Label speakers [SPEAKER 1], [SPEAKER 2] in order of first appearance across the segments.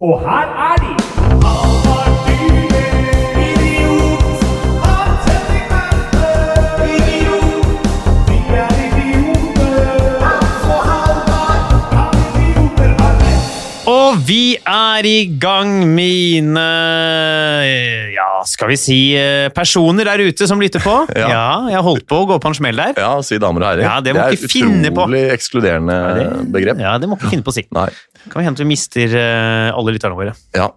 [SPEAKER 1] Og her er de!
[SPEAKER 2] Og vi er i gang, mine Ja, skal vi si eh, personer der ute som lytter på?
[SPEAKER 3] Ja.
[SPEAKER 2] jeg holdt på å gå på en smell der.
[SPEAKER 3] Ja, si damer og herrer.
[SPEAKER 2] Ja, det må
[SPEAKER 3] er
[SPEAKER 2] ikke finne på.
[SPEAKER 3] utrolig ekskluderende begrep.
[SPEAKER 2] Ja, det må ikke finne på å si.
[SPEAKER 3] Nei.
[SPEAKER 2] Kan vi hende at vi mister eh, alle lytterne våre.
[SPEAKER 3] Ja.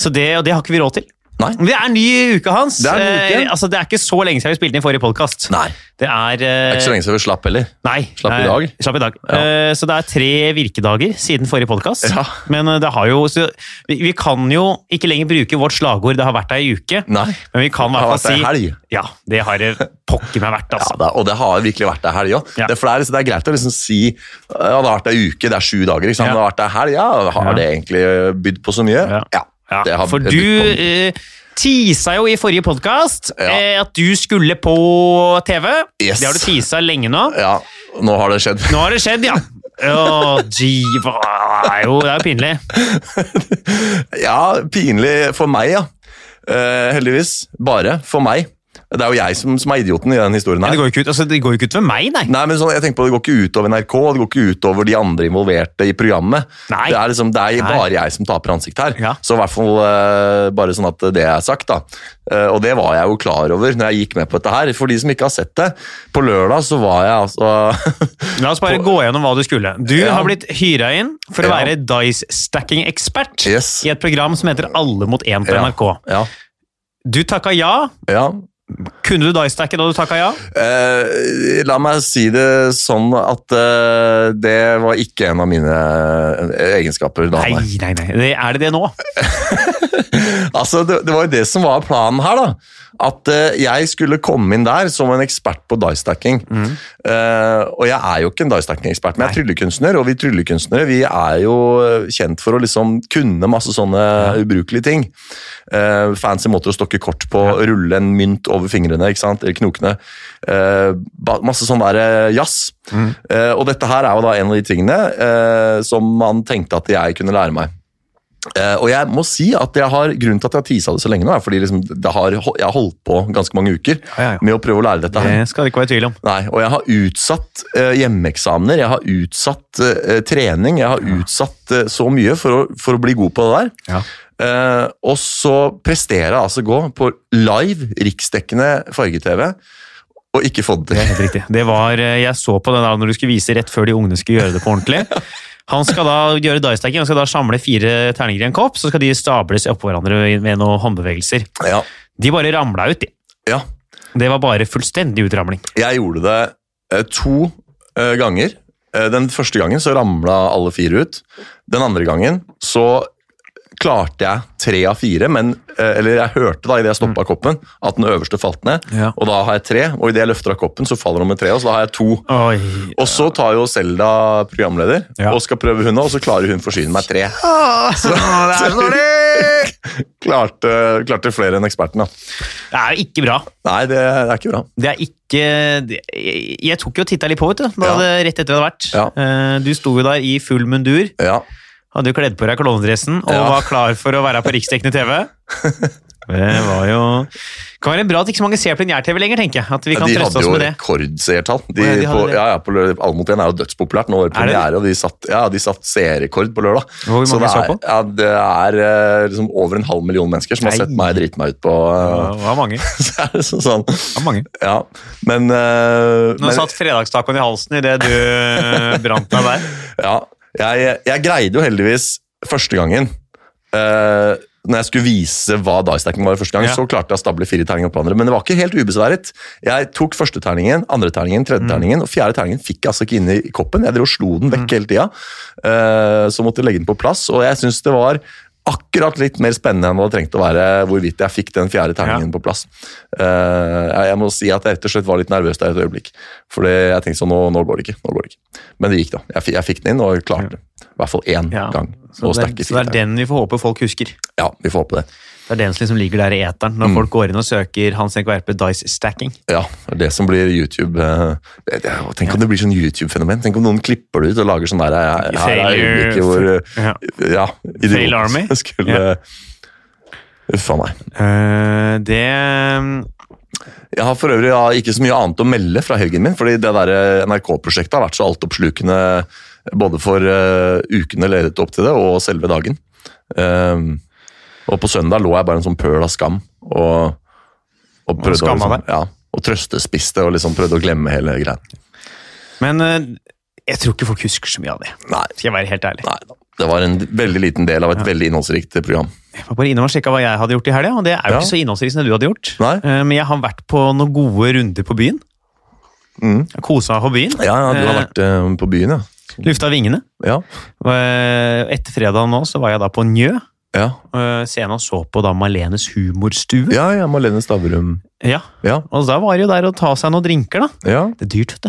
[SPEAKER 2] Så det, og det har ikke vi råd til.
[SPEAKER 3] Nei.
[SPEAKER 2] Men Det er en ny uke, Hans.
[SPEAKER 3] Det er en ny uke.
[SPEAKER 2] Eh, altså, det er ikke så lenge siden vi spilte inn forrige podkast.
[SPEAKER 3] Nei.
[SPEAKER 2] Det er
[SPEAKER 3] Det
[SPEAKER 2] eh,
[SPEAKER 3] er ikke så lenge siden vi slapp heller.
[SPEAKER 2] Nei.
[SPEAKER 3] Slapp i
[SPEAKER 2] nei,
[SPEAKER 3] dag.
[SPEAKER 2] Slapp i dag.
[SPEAKER 3] Ja.
[SPEAKER 2] Eh, så det er tre virkedager siden forrige podkast.
[SPEAKER 3] Ja.
[SPEAKER 2] Men eh, det har jo så vi, vi kan jo ikke lenger bruke vårt slagord 'det har vært ei uke',
[SPEAKER 3] Nei.
[SPEAKER 2] men vi kan i
[SPEAKER 3] Det har
[SPEAKER 2] hvert
[SPEAKER 3] vært ei
[SPEAKER 2] fall si
[SPEAKER 3] helg.
[SPEAKER 2] Ja, det har det pokker meg vært,
[SPEAKER 3] Ja,
[SPEAKER 2] altså.
[SPEAKER 3] det, og det har virkelig vært ei helg òg.
[SPEAKER 2] Ja.
[SPEAKER 3] Det, er- for det, er liksom, det er greit å liksom si ja, det har vært ei uke, det er sju dager. Ikke sant?
[SPEAKER 2] Ja.
[SPEAKER 3] Det har vært ei helg, ja. Har
[SPEAKER 2] Ja.
[SPEAKER 3] det egentlig bydd på så mye?
[SPEAKER 2] Ja. Ja,
[SPEAKER 3] det har
[SPEAKER 2] for
[SPEAKER 3] bydd
[SPEAKER 2] du
[SPEAKER 3] på mye.
[SPEAKER 2] eh, tisa jo i forrige podkast
[SPEAKER 3] Ja.
[SPEAKER 2] eh, at du skulle på TV.
[SPEAKER 3] Yes.
[SPEAKER 2] Det har du tisa lenge nå.
[SPEAKER 3] Ja, nå har det skjedd.
[SPEAKER 2] Nå har det skjedd, ja. Å, gee, hva er jo, det er jo pinlig.
[SPEAKER 3] Ja, pinlig for meg, ja. Eh, heldigvis. Bare for meg. Det er jo jeg som, som er idioten i den historien
[SPEAKER 2] Men
[SPEAKER 3] her.
[SPEAKER 2] det går jo ikke ut, altså, det går jo ikke ut for meg, nei.
[SPEAKER 3] Nei, men sånn, jeg tenker på Det går ikke utover NRK og det går ikke utover de andre involverte i programmet.
[SPEAKER 2] Nei.
[SPEAKER 3] Det er liksom, det er
[SPEAKER 2] Nei.
[SPEAKER 3] bare jeg som taper ansikt her.
[SPEAKER 2] Ja.
[SPEAKER 3] Så i hvert fall eh, bare sånn at det er sagt. da. Eh, og det var jeg jo klar over når jeg gikk med på dette her. For de som ikke har sett det, på lørdag så var jeg altså
[SPEAKER 2] La oss bare gå gjennom hva du skulle. Du
[SPEAKER 3] Ja.
[SPEAKER 2] har blitt hyra inn for å
[SPEAKER 3] Ja.
[SPEAKER 2] være dice-stacking-ekspert
[SPEAKER 3] Yes.
[SPEAKER 2] i et program som heter Alle mot én på
[SPEAKER 3] Ja.
[SPEAKER 2] NRK.
[SPEAKER 3] Ja.
[SPEAKER 2] Du takka ja.
[SPEAKER 3] ja.
[SPEAKER 2] Kunne du dice-stacke da du takka ja?
[SPEAKER 3] Eh, la meg si det sånn at eh, det var ikke en av mine eh, egenskaper da.
[SPEAKER 2] Nei, nei,
[SPEAKER 3] nei.
[SPEAKER 2] nei. Det, er det det nå?
[SPEAKER 3] Altså, det, det var jo det som var planen her, da. At eh, jeg skulle komme inn der som en ekspert på dice-stacking. Eh, og jeg er jo ikke en dice-stacking-ekspert, men jeg er tryllekunstner, og vi tryllekunstnere vi er jo eh, kjent for å liksom kunne masse sånne ubrukelige ting. Eh, fancy måter å stokke kort på, rulle en mynt over fingrene, ikke sant? eller knokene. Eh, ba- masse sånn der eh, jazz.
[SPEAKER 2] Mm.
[SPEAKER 3] Eh, og dette her er jo da en av de tingene eh, som man tenkte at jeg kunne lære meg. Eh, og jeg må si at jeg har, Grunnen til at jeg har tisa det så lenge nå, er fordi liksom, det har, jeg har holdt på ganske mange uker
[SPEAKER 2] ja, ja.
[SPEAKER 3] med å prøve å lære dette. her.
[SPEAKER 2] Det skal det ikke være tvil om.
[SPEAKER 3] Nei, Og jeg har utsatt eh, hjemmeeksamener, jeg har utsatt eh, trening, jeg har utsatt eh, så mye for å, for å bli god på det der.
[SPEAKER 2] Ja.
[SPEAKER 3] Eh, og så presterer jeg altså gå på live riksdekkende farge-TV og ikke få
[SPEAKER 2] Det
[SPEAKER 3] det til.
[SPEAKER 2] er helt riktig. Det var, eh, jeg så på den da når du skulle vise rett før de ungene skulle gjøre det på ordentlig. Han skal da gjøre dice-stacking, han skal da samle fire terninger i en kopp, så skal de stables oppå hverandre med noen håndbevegelser.
[SPEAKER 3] Ja,
[SPEAKER 2] De bare ramla ut, de.
[SPEAKER 3] ja.
[SPEAKER 2] Det var bare fullstendig utramling.
[SPEAKER 3] Jeg gjorde det eh, to eh, ganger. Eh, Den første gangen så ramla alle fire ut. Den andre gangen så klarte jeg tre av fire, men eh, Eller jeg hørte da idet jeg stoppa koppen, at den øverste falt ned.
[SPEAKER 2] Mm. Ja.
[SPEAKER 3] Og da har jeg tre, og idet jeg løfter av koppen, så faller nummer tre, og så da har jeg to.
[SPEAKER 2] Oi.
[SPEAKER 3] Og så tar jo Selda programleder
[SPEAKER 2] Ja.
[SPEAKER 3] og skal prøve hun, og så klarer hun å forsyne meg tre.
[SPEAKER 2] det er så dårlig!
[SPEAKER 3] Klarte, klarte flere enn eksperten, da.
[SPEAKER 2] Det er jo ikke bra.
[SPEAKER 3] Nei, det, det er ikke bra.
[SPEAKER 2] Det er ikke det, Jeg jeg tok jo og titta litt på, vet du. Da
[SPEAKER 3] Ja.
[SPEAKER 2] det, rett etter det hadde vært.
[SPEAKER 3] Ja.
[SPEAKER 2] Eh, Du sto jo der i full mundur.
[SPEAKER 3] Ja.
[SPEAKER 2] Hadde jo kledd på deg klovnedressen og
[SPEAKER 3] Ja.
[SPEAKER 2] var klar for å være på riksdekkende TV. Det var jo kan være bra at ikke så mange ser på lineær-TV lenger, tenker jeg. At vi kan
[SPEAKER 3] de
[SPEAKER 2] trøste
[SPEAKER 3] hadde
[SPEAKER 2] oss
[SPEAKER 3] jo
[SPEAKER 2] med det.
[SPEAKER 3] rekordseertall. De,
[SPEAKER 2] Å, ja, de hadde
[SPEAKER 3] på,
[SPEAKER 2] det.
[SPEAKER 3] ja, ja, på lørdag, Alle mot én er jo dødspopulært. Nå var
[SPEAKER 2] Er
[SPEAKER 3] det
[SPEAKER 2] det det?
[SPEAKER 3] premiere, og de satt, ja, de satt seerrekord på lørdag.
[SPEAKER 2] Hvor mange
[SPEAKER 3] det
[SPEAKER 2] så
[SPEAKER 3] er,
[SPEAKER 2] på?
[SPEAKER 3] Ja, det er eh, liksom over en halv million mennesker som
[SPEAKER 2] Nei.
[SPEAKER 3] har sett meg drite meg ut på
[SPEAKER 2] Ja,
[SPEAKER 3] eh,
[SPEAKER 2] Det var mange. Det
[SPEAKER 3] Så er det sånn, sånn
[SPEAKER 2] var mange.
[SPEAKER 3] Ja, men, eh,
[SPEAKER 2] Nå
[SPEAKER 3] men
[SPEAKER 2] satt fredagstacoen i halsen idet du eh, brant deg der.
[SPEAKER 3] ja, jeg, jeg greide jo heldigvis første gangen eh, når jeg skulle vise hva dice-stacking var, første gang,
[SPEAKER 2] Ja.
[SPEAKER 3] så klarte jeg å stable fire terninger opp på hverandre. Men det var ikke helt ubesværet. Jeg tok første terningen, andre terningen, tredje terningen, og fjerde terningen fikk jeg altså ikke inn i koppen. Jeg drev og slo den vekk hele tida. Eh, så måtte jeg legge den på plass, og jeg syns det var akkurat litt mer spennende enn det hadde trengt å være hvorvidt jeg fikk den fjerde terningen på plass. Eh, jeg- jeg må si at jeg rett og slett var litt nervøs der et øyeblikk. For jeg tenkte sånn, nå, nå går det ikke. nå går det ikke. Men det gikk, da. Jeg, fi- jeg fikk den inn og klarte det. I hvert fall én
[SPEAKER 2] Ja.
[SPEAKER 3] gang.
[SPEAKER 2] Så,
[SPEAKER 3] og
[SPEAKER 2] det,
[SPEAKER 3] stakke
[SPEAKER 2] så det er
[SPEAKER 3] fireren.
[SPEAKER 2] den vi får håpe folk husker.
[SPEAKER 3] Ja, vi får håpe det.
[SPEAKER 2] Det er den som liksom ligger der i eteren
[SPEAKER 3] Mm.
[SPEAKER 2] når folk går inn og søker Hans Henk Verpe Dice Stacking.
[SPEAKER 3] Ja, det er det som blir YouTube. eh, det- det- å, Tenk om det blir sånn YouTube-fenomen. Tenk om noen klipper det ut og lager sånn der her er
[SPEAKER 2] Failure-
[SPEAKER 3] øyeblikket hvor eh,
[SPEAKER 2] Ja.
[SPEAKER 3] Ja,
[SPEAKER 2] Fail Army?
[SPEAKER 3] skulle Uff a meg.
[SPEAKER 2] Eh, det
[SPEAKER 3] Jeg har for øvrig ja, ikke så mye annet å melde fra helgen min, fordi det der eh, NRK-prosjektet har vært så altoppslukende både for eh, ukene ledet opp til det, og selve dagen. Ehm, og på søndag lå jeg bare en sånn pøl av skam, og, og prøvde å
[SPEAKER 2] skamma
[SPEAKER 3] liksom,
[SPEAKER 2] deg?
[SPEAKER 3] ja, og trøstespiste og liksom prøvde å glemme hele greia.
[SPEAKER 2] Men eh, jeg tror ikke folk husker så mye av det.
[SPEAKER 3] Nei,
[SPEAKER 2] Skal jeg være helt ærlig.
[SPEAKER 3] nei, da. det var en veldig liten del av et veldig innholdsrikt program.
[SPEAKER 2] Jeg var bare innom og sjekka hva jeg hadde gjort i helga, og det er jo
[SPEAKER 3] Ja.
[SPEAKER 2] ikke så innholdsrikt som det du hadde gjort.
[SPEAKER 3] Nei.
[SPEAKER 2] Eh, Men jeg har vært på noen gode runder på byen.
[SPEAKER 3] Mm.
[SPEAKER 2] Jeg Kosa meg på byen.
[SPEAKER 3] Ja, ja, du har
[SPEAKER 2] Eh.
[SPEAKER 3] vært eh, på byen, ja.
[SPEAKER 2] Lufta vingene.
[SPEAKER 3] Ja,
[SPEAKER 2] Og, eh, Etter fredag nå så var jeg da på Njø.
[SPEAKER 3] ja,
[SPEAKER 2] eh, Scenen og så på da Malenes humorstue.
[SPEAKER 3] ja, ja Malene Stavrum.
[SPEAKER 2] Ja.
[SPEAKER 3] Ja,
[SPEAKER 2] Og da var det jo der å ta seg noen drinker, da.
[SPEAKER 3] ja,
[SPEAKER 2] Det er dyrt, vet du.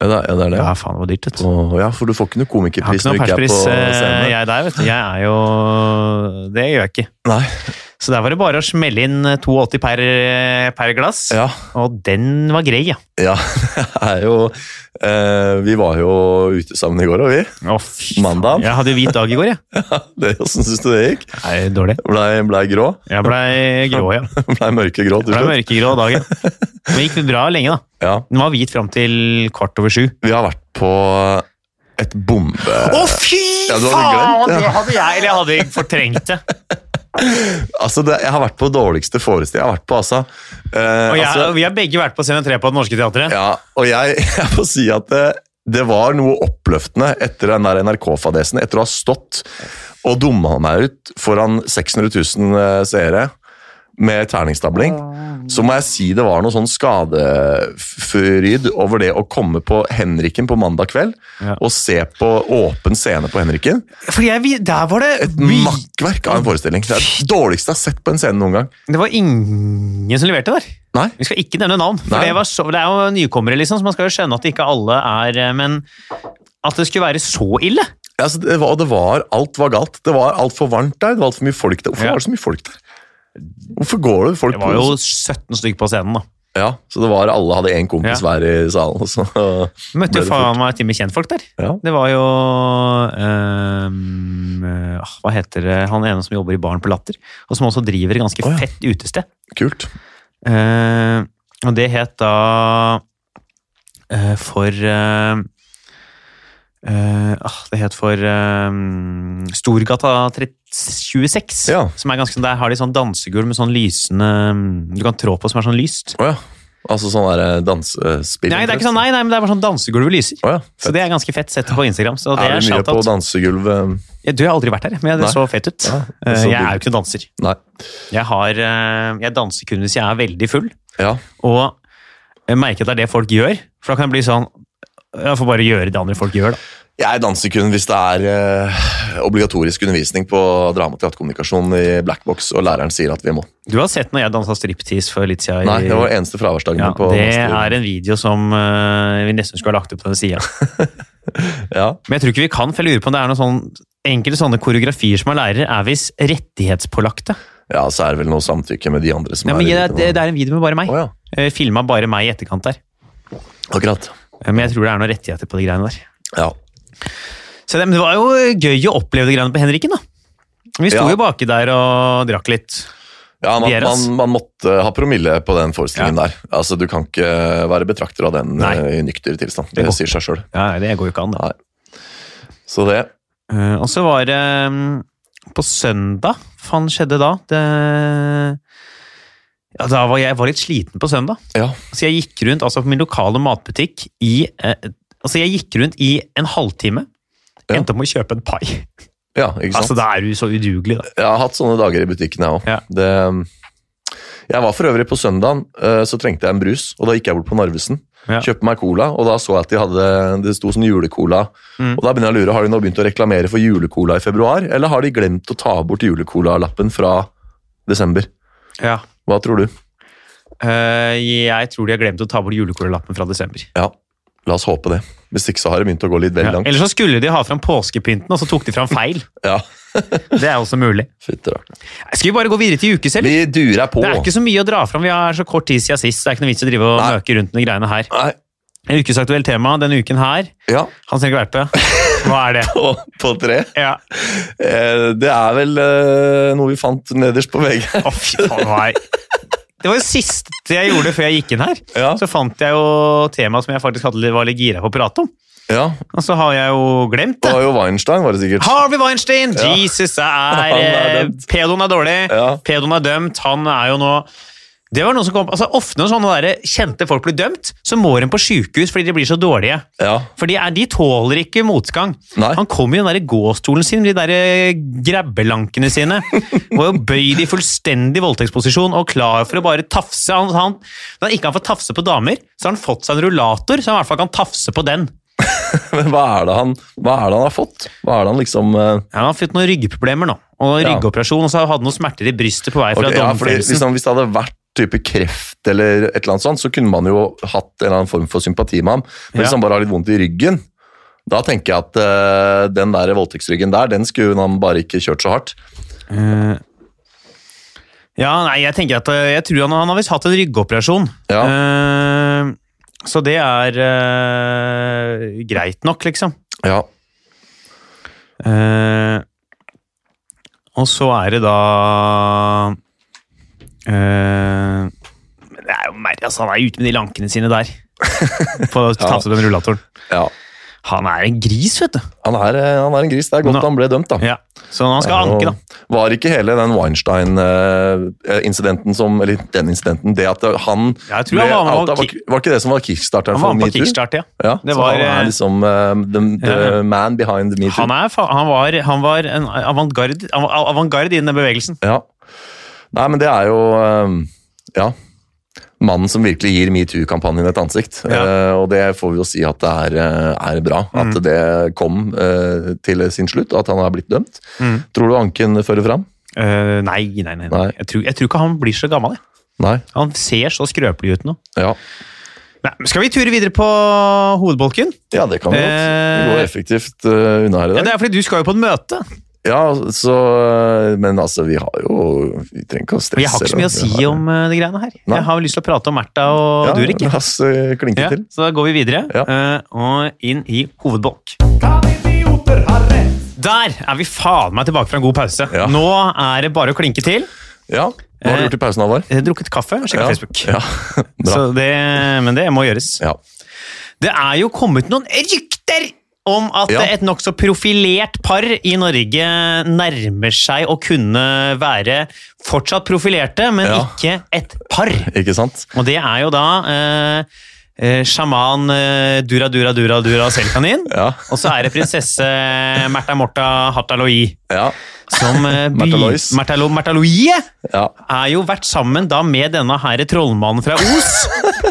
[SPEAKER 3] ja, det er- ja, det er det.
[SPEAKER 2] Ja, faen, det var dyrt, vet du.
[SPEAKER 3] Åh, ja, for du får ikke noe
[SPEAKER 2] Jeg har
[SPEAKER 3] komikerpris
[SPEAKER 2] ikke noen
[SPEAKER 3] når du
[SPEAKER 2] perspris,
[SPEAKER 3] ikke er på
[SPEAKER 2] eh,
[SPEAKER 3] scenen.
[SPEAKER 2] jeg der, vet du. Jeg er jo Det gjør jeg ikke.
[SPEAKER 3] Nei,
[SPEAKER 2] Så der var det bare å smelle inn eh, 82 per, eh, per glass.
[SPEAKER 3] ja,
[SPEAKER 2] Og den var grei, ja.
[SPEAKER 3] ja. Det er jo eh, Vi var jo ute sammen i går, og vi.
[SPEAKER 2] Å, fy faen.
[SPEAKER 3] Mandagen?
[SPEAKER 2] Jeg hadde jo hvit dag i går, jeg.
[SPEAKER 3] Det, hvordan syns du det gikk?
[SPEAKER 2] Nei, dårlig.
[SPEAKER 3] Blei blei grå?
[SPEAKER 2] Jeg blei grå, ja. Jeg
[SPEAKER 3] Blei mørkegrå til
[SPEAKER 2] Blei
[SPEAKER 3] slutt?
[SPEAKER 2] mørkegrå dagen. Men det gikk bra lenge, da.
[SPEAKER 3] Ja.
[SPEAKER 2] Den var hvit fram til kvart over sju.
[SPEAKER 3] Vi har vært på et bombe...
[SPEAKER 2] fy
[SPEAKER 3] Ja, du hadde faen! glemt det.
[SPEAKER 2] Det hadde jeg, eller jeg hadde fortrengt det.
[SPEAKER 3] Altså, det, jeg har vært på dårligste forestilling jeg har vært på, altså. Eh,
[SPEAKER 2] Og jeg,
[SPEAKER 3] altså
[SPEAKER 2] vi har begge vært på scene tre på Det Norske Teatret.
[SPEAKER 3] ja, og jeg, jeg får si at det, det var noe oppløftende etter den der NRK-fadesen, etter å ha stått og dumma meg ut foran 600 000 seere med terningstabling, så må jeg si det var noe sånn skadefryd over det å komme på Henriken på mandag kveld
[SPEAKER 2] Ja.
[SPEAKER 3] og se på åpen scene på Henriken.
[SPEAKER 2] For jeg, vi- der var det vi-
[SPEAKER 3] Makkverk av en forestilling. Det er det dårligste jeg har sett på en scene noen gang.
[SPEAKER 2] Det var ingen som leverte der.
[SPEAKER 3] Nei,
[SPEAKER 2] Vi skal ikke nevne navn, for
[SPEAKER 3] Nei.
[SPEAKER 2] det, var så, det er jo nykommere, liksom, så man skal jo skjønne at ikke alle er eh, Men at det skulle være så ille
[SPEAKER 3] altså, det var, det var, alt var galt. Det var altfor varmt der, det var altfor mye folk der. Hvorfor
[SPEAKER 2] Ja.
[SPEAKER 3] var det så mye folk der? Hvorfor går det folk
[SPEAKER 2] Det var jo 17 stykk på scenen, da.
[SPEAKER 3] på Ja, så det var alle hadde én kompis
[SPEAKER 2] Ja.
[SPEAKER 3] hver i salen. og Så,
[SPEAKER 2] Møtte
[SPEAKER 3] ble
[SPEAKER 2] jo
[SPEAKER 3] det
[SPEAKER 2] faen meg til og med kjentfolk der.
[SPEAKER 3] Ja.
[SPEAKER 2] Det var jo ehm, eh, Hva heter det Han ene som jobber i baren på Latter, og som også driver et ganske
[SPEAKER 3] Å, ja.
[SPEAKER 2] fett utested.
[SPEAKER 3] Kult.
[SPEAKER 2] Eh, og det het da eh, For eh, eh, ah, Det het for eh, Storgata 30 26,
[SPEAKER 3] Ja.
[SPEAKER 2] som er ganske sånn Der har de sånn dansegulv med sånn lysende mm, Du kan trå på som er sånn lyst.
[SPEAKER 3] Å ja. Altså sånn der dansespill?
[SPEAKER 2] Nei, det er ikke sånn, nei, nei, men det er bare sånn dansegulvet lyser.
[SPEAKER 3] Å ja.
[SPEAKER 2] Så det er ganske fett sett på Instagram. Så det er,
[SPEAKER 3] er det mye
[SPEAKER 2] shout-out.
[SPEAKER 3] på dansegulvet?
[SPEAKER 2] Jeg, du, jeg har aldri vært der, men det
[SPEAKER 3] Nei.
[SPEAKER 2] så fett ut.
[SPEAKER 3] Ja, det
[SPEAKER 2] Eh,
[SPEAKER 3] så
[SPEAKER 2] jeg er
[SPEAKER 3] digg.
[SPEAKER 2] jo ikke noen danser.
[SPEAKER 3] Nei.
[SPEAKER 2] Jeg, har, eh, jeg danser kun hvis jeg er veldig full,
[SPEAKER 3] Ja.
[SPEAKER 2] og jeg merker at det er det folk gjør. For da kan jeg bli sånn Jeg får bare gjøre det andre folk gjør, da.
[SPEAKER 3] Jeg danser kun hvis det er eh, obligatorisk undervisning på drama- og teaterkommunikasjon i Blackbox, og læreren sier at vi må.
[SPEAKER 2] Du har sett når jeg dansa striptease for litt siden. i-
[SPEAKER 3] Nei, det var eneste fraværsdagen
[SPEAKER 2] ja,
[SPEAKER 3] min på
[SPEAKER 2] det
[SPEAKER 3] master.
[SPEAKER 2] er en video som eh, vi nesten skulle ha lagt ut på den sida.
[SPEAKER 3] ja.
[SPEAKER 2] Men jeg tror ikke vi kan, for jeg lurer på om det er noen sånn Enkelte sånne koreografier som er lærere, er visst rettighetspålagte.
[SPEAKER 3] ja, så er det vel noe samtykke med de andre som
[SPEAKER 2] Nei, men
[SPEAKER 3] er i
[SPEAKER 2] det, det, det er en video med bare meg.
[SPEAKER 3] Å ja.
[SPEAKER 2] Oh, Filma bare meg i etterkant der.
[SPEAKER 3] Akkurat.
[SPEAKER 2] Eh, Men jeg tror det er noen rettigheter på de greiene der.
[SPEAKER 3] Ja.
[SPEAKER 2] Så det, men det var jo gøy å oppleve det greiene på Henriken, da. Vi sto
[SPEAKER 3] Ja.
[SPEAKER 2] jo baki der og drakk litt.
[SPEAKER 3] ja man,
[SPEAKER 2] Vi er oss.
[SPEAKER 3] man, man måtte ha promille på den forestillingen der. Altså, Du kan ikke være betrakter av den
[SPEAKER 2] Nei.
[SPEAKER 3] eh, i nykter tilstand.
[SPEAKER 2] Det
[SPEAKER 3] Det,
[SPEAKER 2] går
[SPEAKER 3] sier seg sjøl.
[SPEAKER 2] Ja, det går jo ikke an.
[SPEAKER 3] Nei. Så det
[SPEAKER 2] Eh, og så var det mm, på søndag Faen, skjedde da? Det ja, da var jeg, jeg var litt sliten på søndag,
[SPEAKER 3] Ja.
[SPEAKER 2] så jeg gikk rundt altså på min lokale matbutikk i eh, Altså, jeg gikk rundt i en halvtime.
[SPEAKER 3] Ja.
[SPEAKER 2] Endte opp med å kjøpe en pai.
[SPEAKER 3] ja ikke sant?
[SPEAKER 2] Altså, Da er du så udugelig, da.
[SPEAKER 3] Jeg har hatt sånne dager i butikken, jeg òg.
[SPEAKER 2] Ja.
[SPEAKER 3] Jeg var for øvrig på søndagen, eh, så trengte jeg en brus, og da gikk jeg bort på Narvesen.
[SPEAKER 2] Ja.
[SPEAKER 3] Kjøpte meg cola, og da så jeg at de hadde, det sto sånn julecola.
[SPEAKER 2] Mm.
[SPEAKER 3] Og da begynner jeg å lure, Har de nå begynt å reklamere for julecola i februar, eller har de glemt å ta bort julecolalappen fra desember?
[SPEAKER 2] Ja.
[SPEAKER 3] Hva tror du?
[SPEAKER 2] Eh, jeg tror de har glemt å ta bort julekolelappen fra desember.
[SPEAKER 3] Ja, la oss håpe det. Hvis ikke så har det begynt å gå litt vel
[SPEAKER 2] Ja.
[SPEAKER 3] langt.
[SPEAKER 2] Eller så skulle de ha fram påskepynten, og så tok de fram feil.
[SPEAKER 3] Ja,
[SPEAKER 2] Det er også mulig.
[SPEAKER 3] fytter da.
[SPEAKER 2] Skal vi bare gå videre til ukes, eller?
[SPEAKER 3] Vi durer på.
[SPEAKER 2] Det er ikke så mye å dra fram. Vi har så kort tid siden sist. så Det er ikke noe vits å drive og
[SPEAKER 3] Nei.
[SPEAKER 2] møke rundt med greiene her.
[SPEAKER 3] Nei,
[SPEAKER 2] En ukesaktuelt tema denne uken her.
[SPEAKER 3] ja.
[SPEAKER 2] Hans Henrik Verpe, hva er det?
[SPEAKER 3] På, på tre.
[SPEAKER 2] Ja.
[SPEAKER 3] Eh, det er vel eh, noe vi fant nederst på VG.
[SPEAKER 2] Å, fy faen, nei. Det var jo siste jeg gjorde før jeg gikk inn her.
[SPEAKER 3] Ja.
[SPEAKER 2] Så fant jeg jo temaet som jeg faktisk hadde, var litt gira på å prate om.
[SPEAKER 3] ja.
[SPEAKER 2] Og så har jeg jo glemt
[SPEAKER 3] Det
[SPEAKER 2] det.
[SPEAKER 3] var jo Weinstein, var det sikkert.
[SPEAKER 2] Harvey Weinstein!
[SPEAKER 3] Ja.
[SPEAKER 2] Jesus, det
[SPEAKER 3] Han er
[SPEAKER 2] er, er
[SPEAKER 3] dømt.
[SPEAKER 2] Pedoen er dårlig.
[SPEAKER 3] Ja.
[SPEAKER 2] Pedoen er dømt. Han er jo nå Det var noe som kom altså Ofte når sånne der kjente folk blir dømt, så må de på sjukehus fordi de blir så dårlige.
[SPEAKER 3] Ja.
[SPEAKER 2] For de, er, de tåler ikke motgang.
[SPEAKER 3] Nei.
[SPEAKER 2] Han kom i den der gåstolen sin med de der eh, grabbelankene sine. Var jo bøyd i fullstendig voldtektsposisjon og klar for å bare tafse. Han, han, når ikke han får tafse på damer, så har han fått seg en rullator, så han i hvert fall kan tafse på den.
[SPEAKER 3] Men hva er, det han, hva er det han har fått? Hva er det han liksom eh,
[SPEAKER 2] Ja, han har fått noen ryggproblemer nå, og
[SPEAKER 3] Ja.
[SPEAKER 2] ryggoperasjon, og så hadde han noen smerter i brystet på vei fra
[SPEAKER 3] ok, ja, fordi,
[SPEAKER 2] domfellelsen.
[SPEAKER 3] liksom, Hvis det hadde vært type kreft eller et eller annet sånt, så kunne man jo hatt en eller annen form for sympati med ham.
[SPEAKER 2] Ja.
[SPEAKER 3] Men hvis han bare har litt vondt i ryggen, da tenker jeg at eh, den der voldtektsryggen der, den skulle han bare ikke kjørt så hardt.
[SPEAKER 2] Eh, Ja, nei, jeg tenker at eh, jeg tror han, han har visst hatt en ryggoperasjon.
[SPEAKER 3] Ja.
[SPEAKER 2] Eh, så det er eh, greit nok, liksom.
[SPEAKER 3] Ja,
[SPEAKER 2] Eh, og så er det da eh, Det er jo merkelig, altså. Han er ute med de lankene sine der. På å ta
[SPEAKER 3] Ja.
[SPEAKER 2] seg den rullatoren.
[SPEAKER 3] ja.
[SPEAKER 2] Han er en gris, vet du.
[SPEAKER 3] Han er, eh, han er en gris. Det er godt
[SPEAKER 2] Nå-
[SPEAKER 3] han ble dømt, da.
[SPEAKER 2] Ja. Så han skal
[SPEAKER 3] Og
[SPEAKER 2] anke, da.
[SPEAKER 3] Var ikke hele den Weinstein-incidenten som Eller den incidenten, det at eh, han
[SPEAKER 2] Jeg tror han var- han var
[SPEAKER 3] outa, var,
[SPEAKER 2] kick-
[SPEAKER 3] ikke- var ikke det som var kickstarteren
[SPEAKER 2] Han var
[SPEAKER 3] for
[SPEAKER 2] med på
[SPEAKER 3] metoo?
[SPEAKER 2] kickstart, ja.
[SPEAKER 3] Ja,
[SPEAKER 2] Det
[SPEAKER 3] så
[SPEAKER 2] var,
[SPEAKER 3] han
[SPEAKER 2] eh,
[SPEAKER 3] er liksom eh, the, the
[SPEAKER 2] ja.
[SPEAKER 3] man behind the metoo.
[SPEAKER 2] Han, er, fa- han, var, han var en avantgarde av- av- avantgarde i den bevegelsen.
[SPEAKER 3] Ja. Nei, men det er jo eh, Ja. Mannen som virkelig gir metoo-kampanjen et ansikt.
[SPEAKER 2] Ja.
[SPEAKER 3] Eh, og det får vi jo si at det er, eh, er bra. At
[SPEAKER 2] Mm.
[SPEAKER 3] det kom eh, til sin slutt, og at han har blitt dømt.
[SPEAKER 2] Mm.
[SPEAKER 3] Tror du anken fører fram?
[SPEAKER 2] Eh, nei, nei, nei. nei.
[SPEAKER 3] Nei.
[SPEAKER 2] Jeg, tror, jeg tror ikke han blir så gammel. Jeg.
[SPEAKER 3] Nei.
[SPEAKER 2] Han ser så skrøpelig ut nå.
[SPEAKER 3] Ja,
[SPEAKER 2] Nei, men skal vi ture videre på hovedbolken?
[SPEAKER 3] ja det kan vi godt. Vi går
[SPEAKER 2] Eh,
[SPEAKER 3] effektivt eh, unna her i
[SPEAKER 2] Ja,
[SPEAKER 3] dag.
[SPEAKER 2] det er fordi du skal jo på et møte.
[SPEAKER 3] Ja, så, Men altså, vi har jo Vi trenger ikke å stresse.
[SPEAKER 2] Og jeg har ikke så mye å si
[SPEAKER 3] Vi har-
[SPEAKER 2] om eh, de greiene her.
[SPEAKER 3] Nei.
[SPEAKER 2] Jeg har lyst til å prate om Märtha og
[SPEAKER 3] ja,
[SPEAKER 2] Durek.
[SPEAKER 3] La oss eh, klinke
[SPEAKER 2] Ja,
[SPEAKER 3] til.
[SPEAKER 2] så da går vi videre
[SPEAKER 3] Ja.
[SPEAKER 2] eh, og inn i hovedbolk. Der er vi faen meg tilbake fra en god pause.
[SPEAKER 3] Ja.
[SPEAKER 2] Nå er det bare å klinke til.
[SPEAKER 3] Ja, Hva har du
[SPEAKER 2] Eh,
[SPEAKER 3] gjort i pausen, Halvor?
[SPEAKER 2] Jeg har drukket kaffe og sjekket
[SPEAKER 3] Ja,
[SPEAKER 2] Facebook.
[SPEAKER 3] Ja, bra.
[SPEAKER 2] Så det, men det må gjøres.
[SPEAKER 3] ja.
[SPEAKER 2] Det er jo kommet noen rykter om at
[SPEAKER 3] Ja.
[SPEAKER 2] et nokså profilert par i Norge nærmer seg å kunne være fortsatt profilerte, men
[SPEAKER 3] Ja.
[SPEAKER 2] ikke et par.
[SPEAKER 3] Ikke sant?
[SPEAKER 2] Og det er jo da eh, eh, sjaman eh, Dura Dura Dura Dura Selkanin.
[SPEAKER 3] Ja.
[SPEAKER 2] Og så er det prinsesse Märtha Morta Hattaloi.
[SPEAKER 3] Ja.
[SPEAKER 2] Som eh, by-
[SPEAKER 3] Märtha Lois.
[SPEAKER 2] Märtha Lo- Märtha Loie
[SPEAKER 3] ja.
[SPEAKER 2] er jo vært sammen da med denne herre trollmannen fra Os.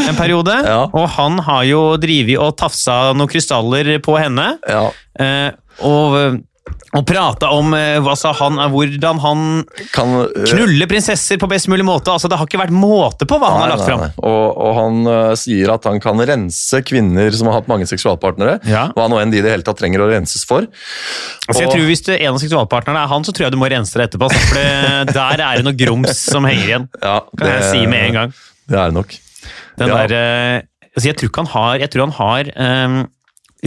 [SPEAKER 2] En periode.
[SPEAKER 3] Ja.
[SPEAKER 2] Og han har jo drevet og tafsa noen krystaller på henne.
[SPEAKER 3] ja.
[SPEAKER 2] Eh, og og prata om eh, hva sa han, eh, hvordan han
[SPEAKER 3] Kan eh,
[SPEAKER 2] knuller prinsesser på best mulig måte. Altså, det har ikke vært måte på hva han har
[SPEAKER 3] nei,
[SPEAKER 2] lagt
[SPEAKER 3] nei,
[SPEAKER 2] fram.
[SPEAKER 3] nei. Og, og han eh, sier at han kan rense kvinner som har hatt mange seksualpartnere.
[SPEAKER 2] Ja.
[SPEAKER 3] Hva nå enn de i det hele tatt trenger å renses for.
[SPEAKER 2] Altså, jeg
[SPEAKER 3] Og-
[SPEAKER 2] tror Hvis du, en av seksualpartnerne er han, så tror jeg du må rense deg etterpå. altså, For det, der er det noe grums som henger igjen.
[SPEAKER 3] Ja,
[SPEAKER 2] Kan jeg si med en gang.
[SPEAKER 3] Det er det nok.
[SPEAKER 2] Den
[SPEAKER 3] Ja.
[SPEAKER 2] der, eh, altså, jeg tror ikke han har, jeg tror han har eh,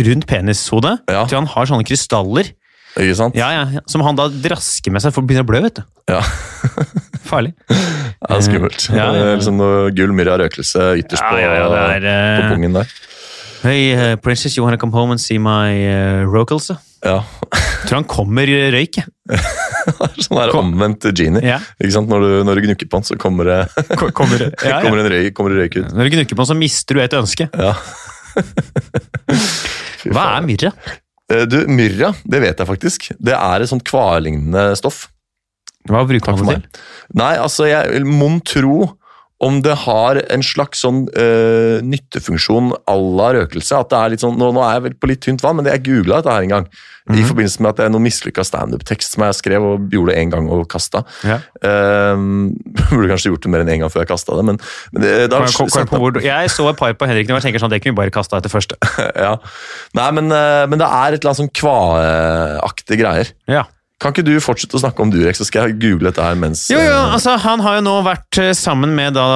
[SPEAKER 2] Rundt penishodet.
[SPEAKER 3] Ja.
[SPEAKER 2] Jeg tror han har sånne krystaller
[SPEAKER 3] Ikke sant?
[SPEAKER 2] ja, ja, som han da drasker med seg for å begynne å blø. vet du.
[SPEAKER 3] Ja.
[SPEAKER 2] Farlig.
[SPEAKER 3] Det er skummelt.
[SPEAKER 2] Ja, ja, ja.
[SPEAKER 3] Eh, Liksom noe gull, myrra, røkelse ytterst
[SPEAKER 2] Ja, ja, ja, det
[SPEAKER 3] på,
[SPEAKER 2] er,
[SPEAKER 3] på
[SPEAKER 2] eh,
[SPEAKER 3] pungen der.
[SPEAKER 2] Hey, eh, princess, you wanna come home and see my uh, rocals?
[SPEAKER 3] Ja.
[SPEAKER 2] Jeg tror han kommer i røyk. jeg.
[SPEAKER 3] Sånn der omvendt genie.
[SPEAKER 2] Ja.
[SPEAKER 3] Ikke sant? Når, du, når du gnukker på den, så kommer det
[SPEAKER 2] Ja, ja.
[SPEAKER 3] kommer en røyk, kommer det røyk ut.
[SPEAKER 2] Når du gnukker på den, så mister du et ønske.
[SPEAKER 3] Ja. Fy
[SPEAKER 2] Hva
[SPEAKER 3] faen.
[SPEAKER 2] er myrra?
[SPEAKER 3] Eh, Du, Myrra, det vet jeg faktisk. Det er et sånt kvarlignende stoff.
[SPEAKER 2] Hva bruker
[SPEAKER 3] Takk for
[SPEAKER 2] man det
[SPEAKER 3] meg.
[SPEAKER 2] til?
[SPEAKER 3] Nei, altså, jeg vil mon tro om det har en slags sånn eh, nyttefunksjon à la røkelse. at det er litt sånn, Nå, nå er jeg vel på litt tynt vann, men jeg googla dette her en gang.
[SPEAKER 2] Mhm.
[SPEAKER 3] I forbindelse med at det er noen mislykka standup-tekst som jeg skrev og gjorde en gang og kasta.
[SPEAKER 2] Ja.
[SPEAKER 3] burde kanskje gjort det mer enn én gang før jeg kasta det, men, men det, sånn, da,
[SPEAKER 2] Kom- kom- kom på hvor du- Jeg så et par på Henrik nå og tenker sånn, det kunne vi bare kasta etter første.
[SPEAKER 3] ja. Nei, men, eh, men det er et eller annet sånn kvaeaktige greier.
[SPEAKER 2] Ja.
[SPEAKER 3] Kan ikke du fortsette å snakke om Durek, så skal jeg google dette her mens
[SPEAKER 2] Jo, jo,
[SPEAKER 3] eh,
[SPEAKER 2] altså Han har jo nå vært eh, sammen med da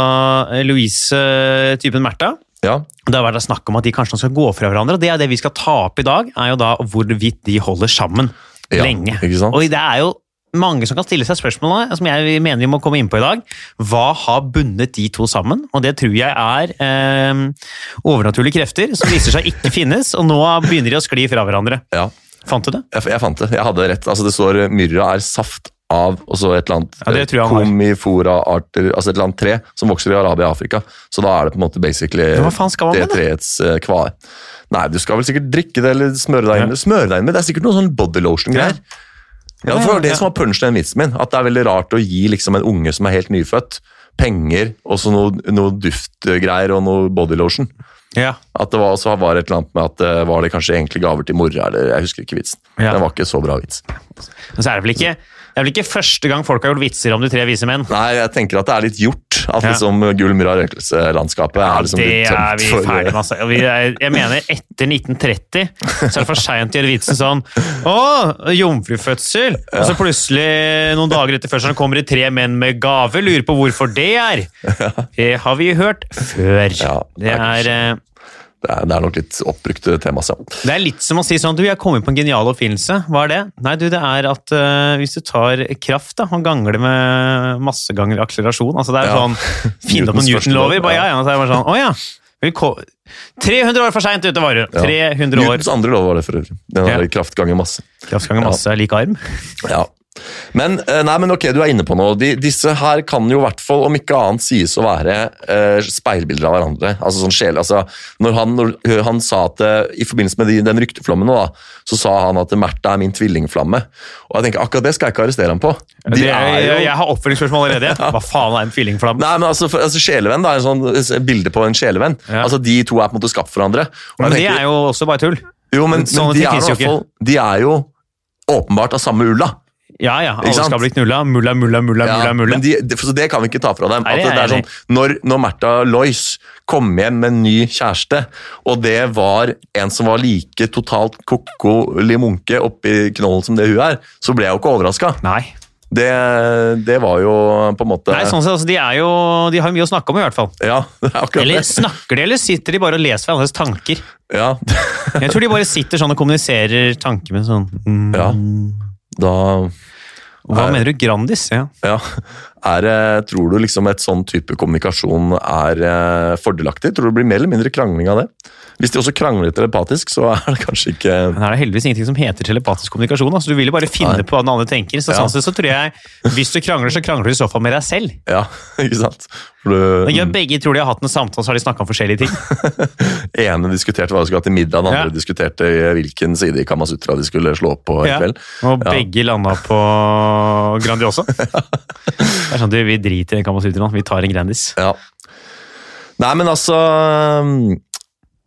[SPEAKER 2] eh, Louise-typen Märtha.
[SPEAKER 3] ja.
[SPEAKER 2] Det har vært snakk om at de kanskje skal gå fra hverandre. og Det er det vi skal ta opp i dag, er jo da hvorvidt de holder sammen
[SPEAKER 3] Ja,
[SPEAKER 2] lenge.
[SPEAKER 3] ikke sant?
[SPEAKER 2] Og det er jo mange som kan stille seg spørsmålene, som jeg mener vi må komme inn på i dag. Hva har bundet de to sammen? Og det tror jeg er eh, overnaturlige krefter som viser seg ikke finnes, og nå begynner de å skli fra hverandre.
[SPEAKER 3] ja.
[SPEAKER 2] Fant du det?
[SPEAKER 3] Jeg, jeg fant det. Jeg hadde rett. Altså, det står eh, myrra er saft av og så et eller annet
[SPEAKER 2] Ja, det
[SPEAKER 3] eh,
[SPEAKER 2] tror jeg han har.
[SPEAKER 3] komifora-arter, altså et eller annet tre som vokser i Arabia og Afrika. Så da er det på en måte basically
[SPEAKER 2] Men hva faen skal man
[SPEAKER 3] det
[SPEAKER 2] med det?
[SPEAKER 3] treets eh, kvae. Nei, du skal vel sikkert drikke det eller smøre deg inn.
[SPEAKER 2] Ja.
[SPEAKER 3] Smøre deg inn med, Det er sikkert noe sånn body lotion-greier. Ja, for det var det
[SPEAKER 2] Ja.
[SPEAKER 3] som var punchen i den vitsen min. At det er veldig rart å gi liksom en unge som er helt nyfødt, penger og så noe, noe duftgreier og noe body lotion.
[SPEAKER 2] Ja.
[SPEAKER 3] At det var, så var det et eller annet med at eh, var det kanskje egentlig gaver til mora, eller jeg husker ikke vitsen.
[SPEAKER 2] Ja.
[SPEAKER 3] Den var ikke så bra vits.
[SPEAKER 2] Men så Altså, er det vel ikke det er vel ikke første gang folk har gjort vitser om de tre vise menn.
[SPEAKER 3] Nei, jeg tenker at det er litt gjort. At
[SPEAKER 2] Ja.
[SPEAKER 3] liksom gull, myrra, røkelse-landskapet er liksom
[SPEAKER 2] det
[SPEAKER 3] blitt
[SPEAKER 2] er
[SPEAKER 3] tømt
[SPEAKER 2] vi
[SPEAKER 3] for
[SPEAKER 2] ferdig med. Altså. Vi er, jeg mener, etter 1930 så er det for seint å gjøre vitsen sånn Å, jomfrufødsel! Og så plutselig, noen dager etter fødselen, kommer det tre menn med gave. Lurer på hvorfor det er! Det har vi hørt før.
[SPEAKER 3] Ja,
[SPEAKER 2] det, er, eh,
[SPEAKER 3] Det er, det er nok litt eh, oppbrukte temas, ja.
[SPEAKER 2] det er litt som å si sånn Du, jeg kom inn på en genial oppfinnelse. Hva er det? Nei, du, det er at eh, hvis du tar kraft da, og ganger det med masse ganger akselerasjon Altså, det er
[SPEAKER 3] Ja.
[SPEAKER 2] sånn Finn opp noen
[SPEAKER 3] Newtons første
[SPEAKER 2] Newton-lover.
[SPEAKER 3] lov,
[SPEAKER 2] Bare
[SPEAKER 3] ja.
[SPEAKER 2] ja, ja. Så er det bare sånn Å ja. Velko- 300 år for seint ute, var du! 300 år.
[SPEAKER 3] Newtons andre lov var det for øvrig. Den
[SPEAKER 2] Ja.
[SPEAKER 3] ja. kraftganger masse.
[SPEAKER 2] Kraftganger masse er lik arm.
[SPEAKER 3] Ja. Men, eh, nei, men ok, du er inne på noe. De, disse her kan jo i hvert fall, om ikke annet, sies å være eh, speilbilder av hverandre. Altså sånn sjel, altså, når han, når han sa at, eh, I forbindelse med de, den rykteflommen, nå da, så sa han at Märtha er min tvillingflamme. Og jeg tenker, akkurat det skal jeg ikke arrestere ham på. De
[SPEAKER 2] Det er,
[SPEAKER 3] jo-
[SPEAKER 2] jeg har oppfølgingsspørsmål allerede. Hva faen er en tvillingflamme?
[SPEAKER 3] Nei, men altså, for, altså Sjelevenn da, er en sånn et bilde på en sjelevenn.
[SPEAKER 2] Ja.
[SPEAKER 3] Altså, De to er på en måte skapt for hverandre. Og jeg
[SPEAKER 2] Men det er
[SPEAKER 3] tenker-
[SPEAKER 2] jo også bare tull.
[SPEAKER 3] jo, men, men
[SPEAKER 2] sånne
[SPEAKER 3] de,
[SPEAKER 2] ting
[SPEAKER 3] er
[SPEAKER 2] finnes jo
[SPEAKER 3] jo i hvert fall, de er jo åpenbart av samme ulla.
[SPEAKER 2] Ja ja, alle
[SPEAKER 3] Ikke sant?
[SPEAKER 2] skal bli knulla. Mulla, mulla, mulla, mulla. mulla.
[SPEAKER 3] Men de, de, så det kan vi ikke ta fra dem.
[SPEAKER 2] Nei,
[SPEAKER 3] At
[SPEAKER 2] det
[SPEAKER 3] det,
[SPEAKER 2] er
[SPEAKER 3] er
[SPEAKER 2] jeg
[SPEAKER 3] sånn, når, når Märtha Lois kom hjem med en ny kjæreste, og det var en som var like totalt ko-ko limunke oppi knollen som det hun er, så ble jeg jo ikke overraska.
[SPEAKER 2] Nei.
[SPEAKER 3] Det, det var jo på en måte
[SPEAKER 2] Nei, sånn sett, altså, de, er jo, de har jo mye å snakke om, i hvert fall.
[SPEAKER 3] Ja, det er akkurat
[SPEAKER 2] Eller
[SPEAKER 3] det.
[SPEAKER 2] snakker de, eller sitter de bare og leser hverandres tanker?
[SPEAKER 3] Ja,
[SPEAKER 2] Jeg tror de bare sitter sånn og kommuniserer tanker med sånn mm,
[SPEAKER 3] ja. Da
[SPEAKER 2] Hva mener du, Grandis? Ja.
[SPEAKER 3] Ja. Er, eh, tror du liksom et sånn type kommunikasjon er eh, fordelaktig? Tror du det blir mer eller mindre krangling av det? Hvis de også krangler telepatisk, så er det kanskje ikke
[SPEAKER 2] Men her er det heldigvis ingenting som heter telepatisk kommunikasjon. Altså, du vil jo bare finne
[SPEAKER 3] Nei.
[SPEAKER 2] på hva den andre tenker. Så,
[SPEAKER 3] Ja.
[SPEAKER 2] sånn sett så tror jeg, Hvis du krangler, så krangler du i så fall med deg selv.
[SPEAKER 3] Ja, ikke sant? For du, mm,
[SPEAKER 2] Men ja, begge tror de har hatt en samtale, så har de snakka om forskjellige ting.
[SPEAKER 3] ene diskuterte hva de skulle ha til middag, den
[SPEAKER 2] Ja.
[SPEAKER 3] andre diskuterte hvilken side i Kamasutra de skulle slå opp på i
[SPEAKER 2] Ja.
[SPEAKER 3] kveld.
[SPEAKER 2] Og
[SPEAKER 3] Ja.
[SPEAKER 2] begge landa på Grandiosa. Det er sånn, du, Vi driter i den Kamasutraen, vi tar en Grandis.
[SPEAKER 3] Ja. Nei, men altså um,